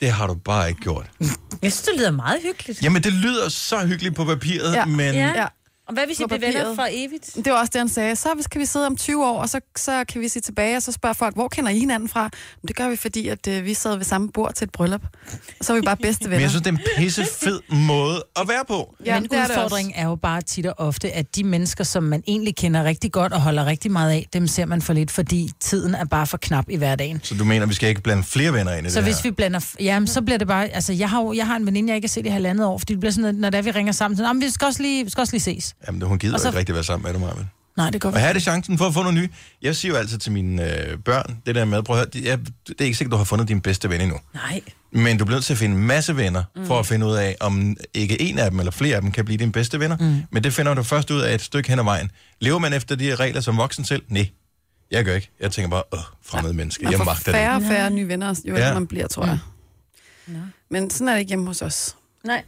Det har du bare ikke gjort. Jeg synes, det lyder meget hyggeligt. Jamen, det lyder så hyggeligt på papiret, ja. men... Ja. Ja. ja. Og hvad hvis I På bliver venner papiret. for evigt? Det var også det, han sagde. Så hvis- kan vi sidde om 20 år, og så, så kan vi sige tilbage, og så spørger folk, hvor kender I hinanden fra? Men det gør vi, fordi at, øh, vi sad ved samme bord til et bryllup. Og så er vi bare bedste venner. Men jeg synes, det er en pisse fed måde at være på. Ja, men det er det udfordringen er, er jo bare tit og ofte, at de mennesker, som man egentlig kender rigtig godt og holder rigtig meget af, dem ser man for lidt, fordi tiden er bare for knap i hverdagen. Så du mener, vi skal ikke blande flere venner ind i Så det hvis her? vi blander... f- Jamen, så bliver det bare... Altså, jeg har, jo, jeg har en veninde, jeg ikke har set i halvandet år, fordi det bliver sådan, at når det er, vi ringer sammen, så "Nå, men vi skal også lige, vi skal også lige ses. Jamen, hun gider Og så... så- ikke rigtig være sammen med dig, Marvin. Nej, det går Og her er det chancen for at få noget nyt. Jeg siger jo altid til mine øh, børn, det der med, prøv at høre, det, jeg, det er ikke sikkert, du har fundet din bedste ven endnu. Nej. Men du bliver nødt til at finde en masse venner, mm. for at finde ud af, om ikke en af dem eller flere af dem kan blive dine bedste venner. Mm. Men det finder du først ud af et stykke hen ad vejen. Lever man efter de her regler som voksen selv? Nej, jeg gør ikke. Jeg tænker bare, åh, fremmede mennesker, jeg Man får magter det. færre og ikke." færre nye venner, jo Ja. ældre man bliver, tror jeg. Men sådan er det ikke hjemme hos os. Nej.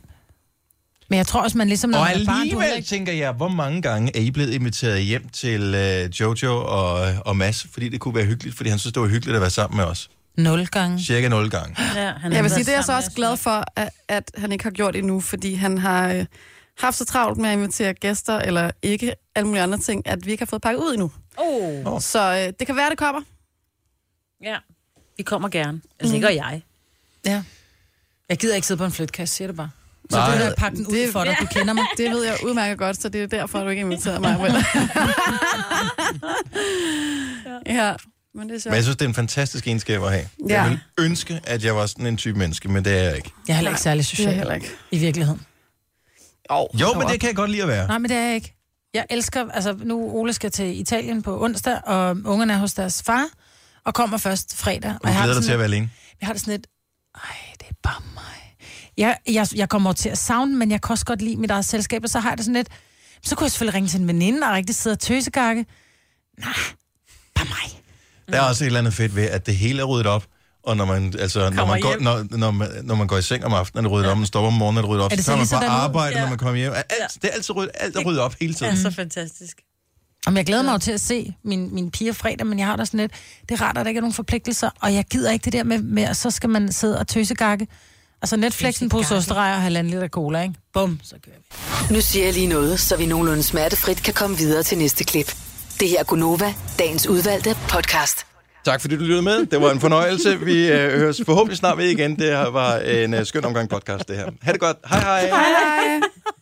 Men jeg tror også, man ligesom... Når og man er barn, du alligevel heller barn, ikke... tænker jeg, hvor mange gange er I blevet inviteret hjem til øh, Jojo og, og Mads, fordi det kunne være hyggeligt, fordi han synes, det var hyggeligt at være sammen med os. Nul gange. Cirka 0 gange. Ja, Han jeg vil sige, det er jeg så også glad for, at, at han ikke har gjort endnu, fordi han har øh, haft så travlt med at invitere gæster, eller ikke alle mulige andre ting, at vi ikke har fået pakket ud endnu. Oh. Oh. Så øh, det kan være, det kommer. Ja. Vi kommer gerne. Altså, mm. ikke og jeg. Ja. Jeg gider ikke sidde på en flytkasse, siger det bare. Så Nej. Nej. det er pakke den ud Det- for dig, du kender mig. Det ved jeg udmærket godt, så det er derfor, du ikke inviterer mig. Men... ja, men Men det er jeg sjovt. synes, det er en fantastisk egenskab at have. Ja. Ja. Jeg ville ønske, at jeg var sådan en type menneske, men det er jeg ikke. Jeg er heller ikke særlig Det er social jeg heller ikke. i virkeligheden. Jo, men det kan jeg godt lide at være. Nej, men det er jeg ikke. Jeg elsker, altså nu Ole skal til Italien på onsdag, og ungerne er hos deres far, og kommer først fredag. Og Du har glæder dig det til at sådan være alene. lidt- Jeg har det sådan lidt, ej, det er bare mig. Jeg, jeg, jeg kommer til at savne, men jeg kan også godt lide mit eget selskab, og så har jeg det sådan lidt, så kunne jeg selvfølgelig ringe til en veninde og rigtig sidde og tøsegakke. Nej, bare mig. Der er også et eller andet fedt ved, at det hele er ryddet op, og når man, altså, når man, går, når, når, man, når man går i seng om aftenen, er det ryddet op, man stopper om morgenen, er det ryddet op, Er det så så tager man på ligesom dernede? arbejde, Ja. når man kommer hjem. Alt, Det er altid ryddet, alt er ryddet op hele Det tiden. er så fantastisk. Om jeg glæder mig jo til at se min, min piger fredag, men jeg har da sådan lidt, det er rart, at der ikke er nogen forpligtelser, og jeg gider ikke det der med, med at så skal man sidde og tøsegakke. Altså Netflixen på osterejer og halvanden liter cola, ikke? Bum, så kører vi. Nu siger jeg lige noget, så vi nogenlunde smertefrit kan komme videre til næste klip. Det her er Gunova, dagens udvalgte podcast. Mm. Tak fordi du lyttede med. Det var en fornøjelse. Vi øh, høres forhåbentlig snart ved igen. Det her var en øh, skøn omgang podcast, det her. Ha' det godt. Hej hej. Hej, hej.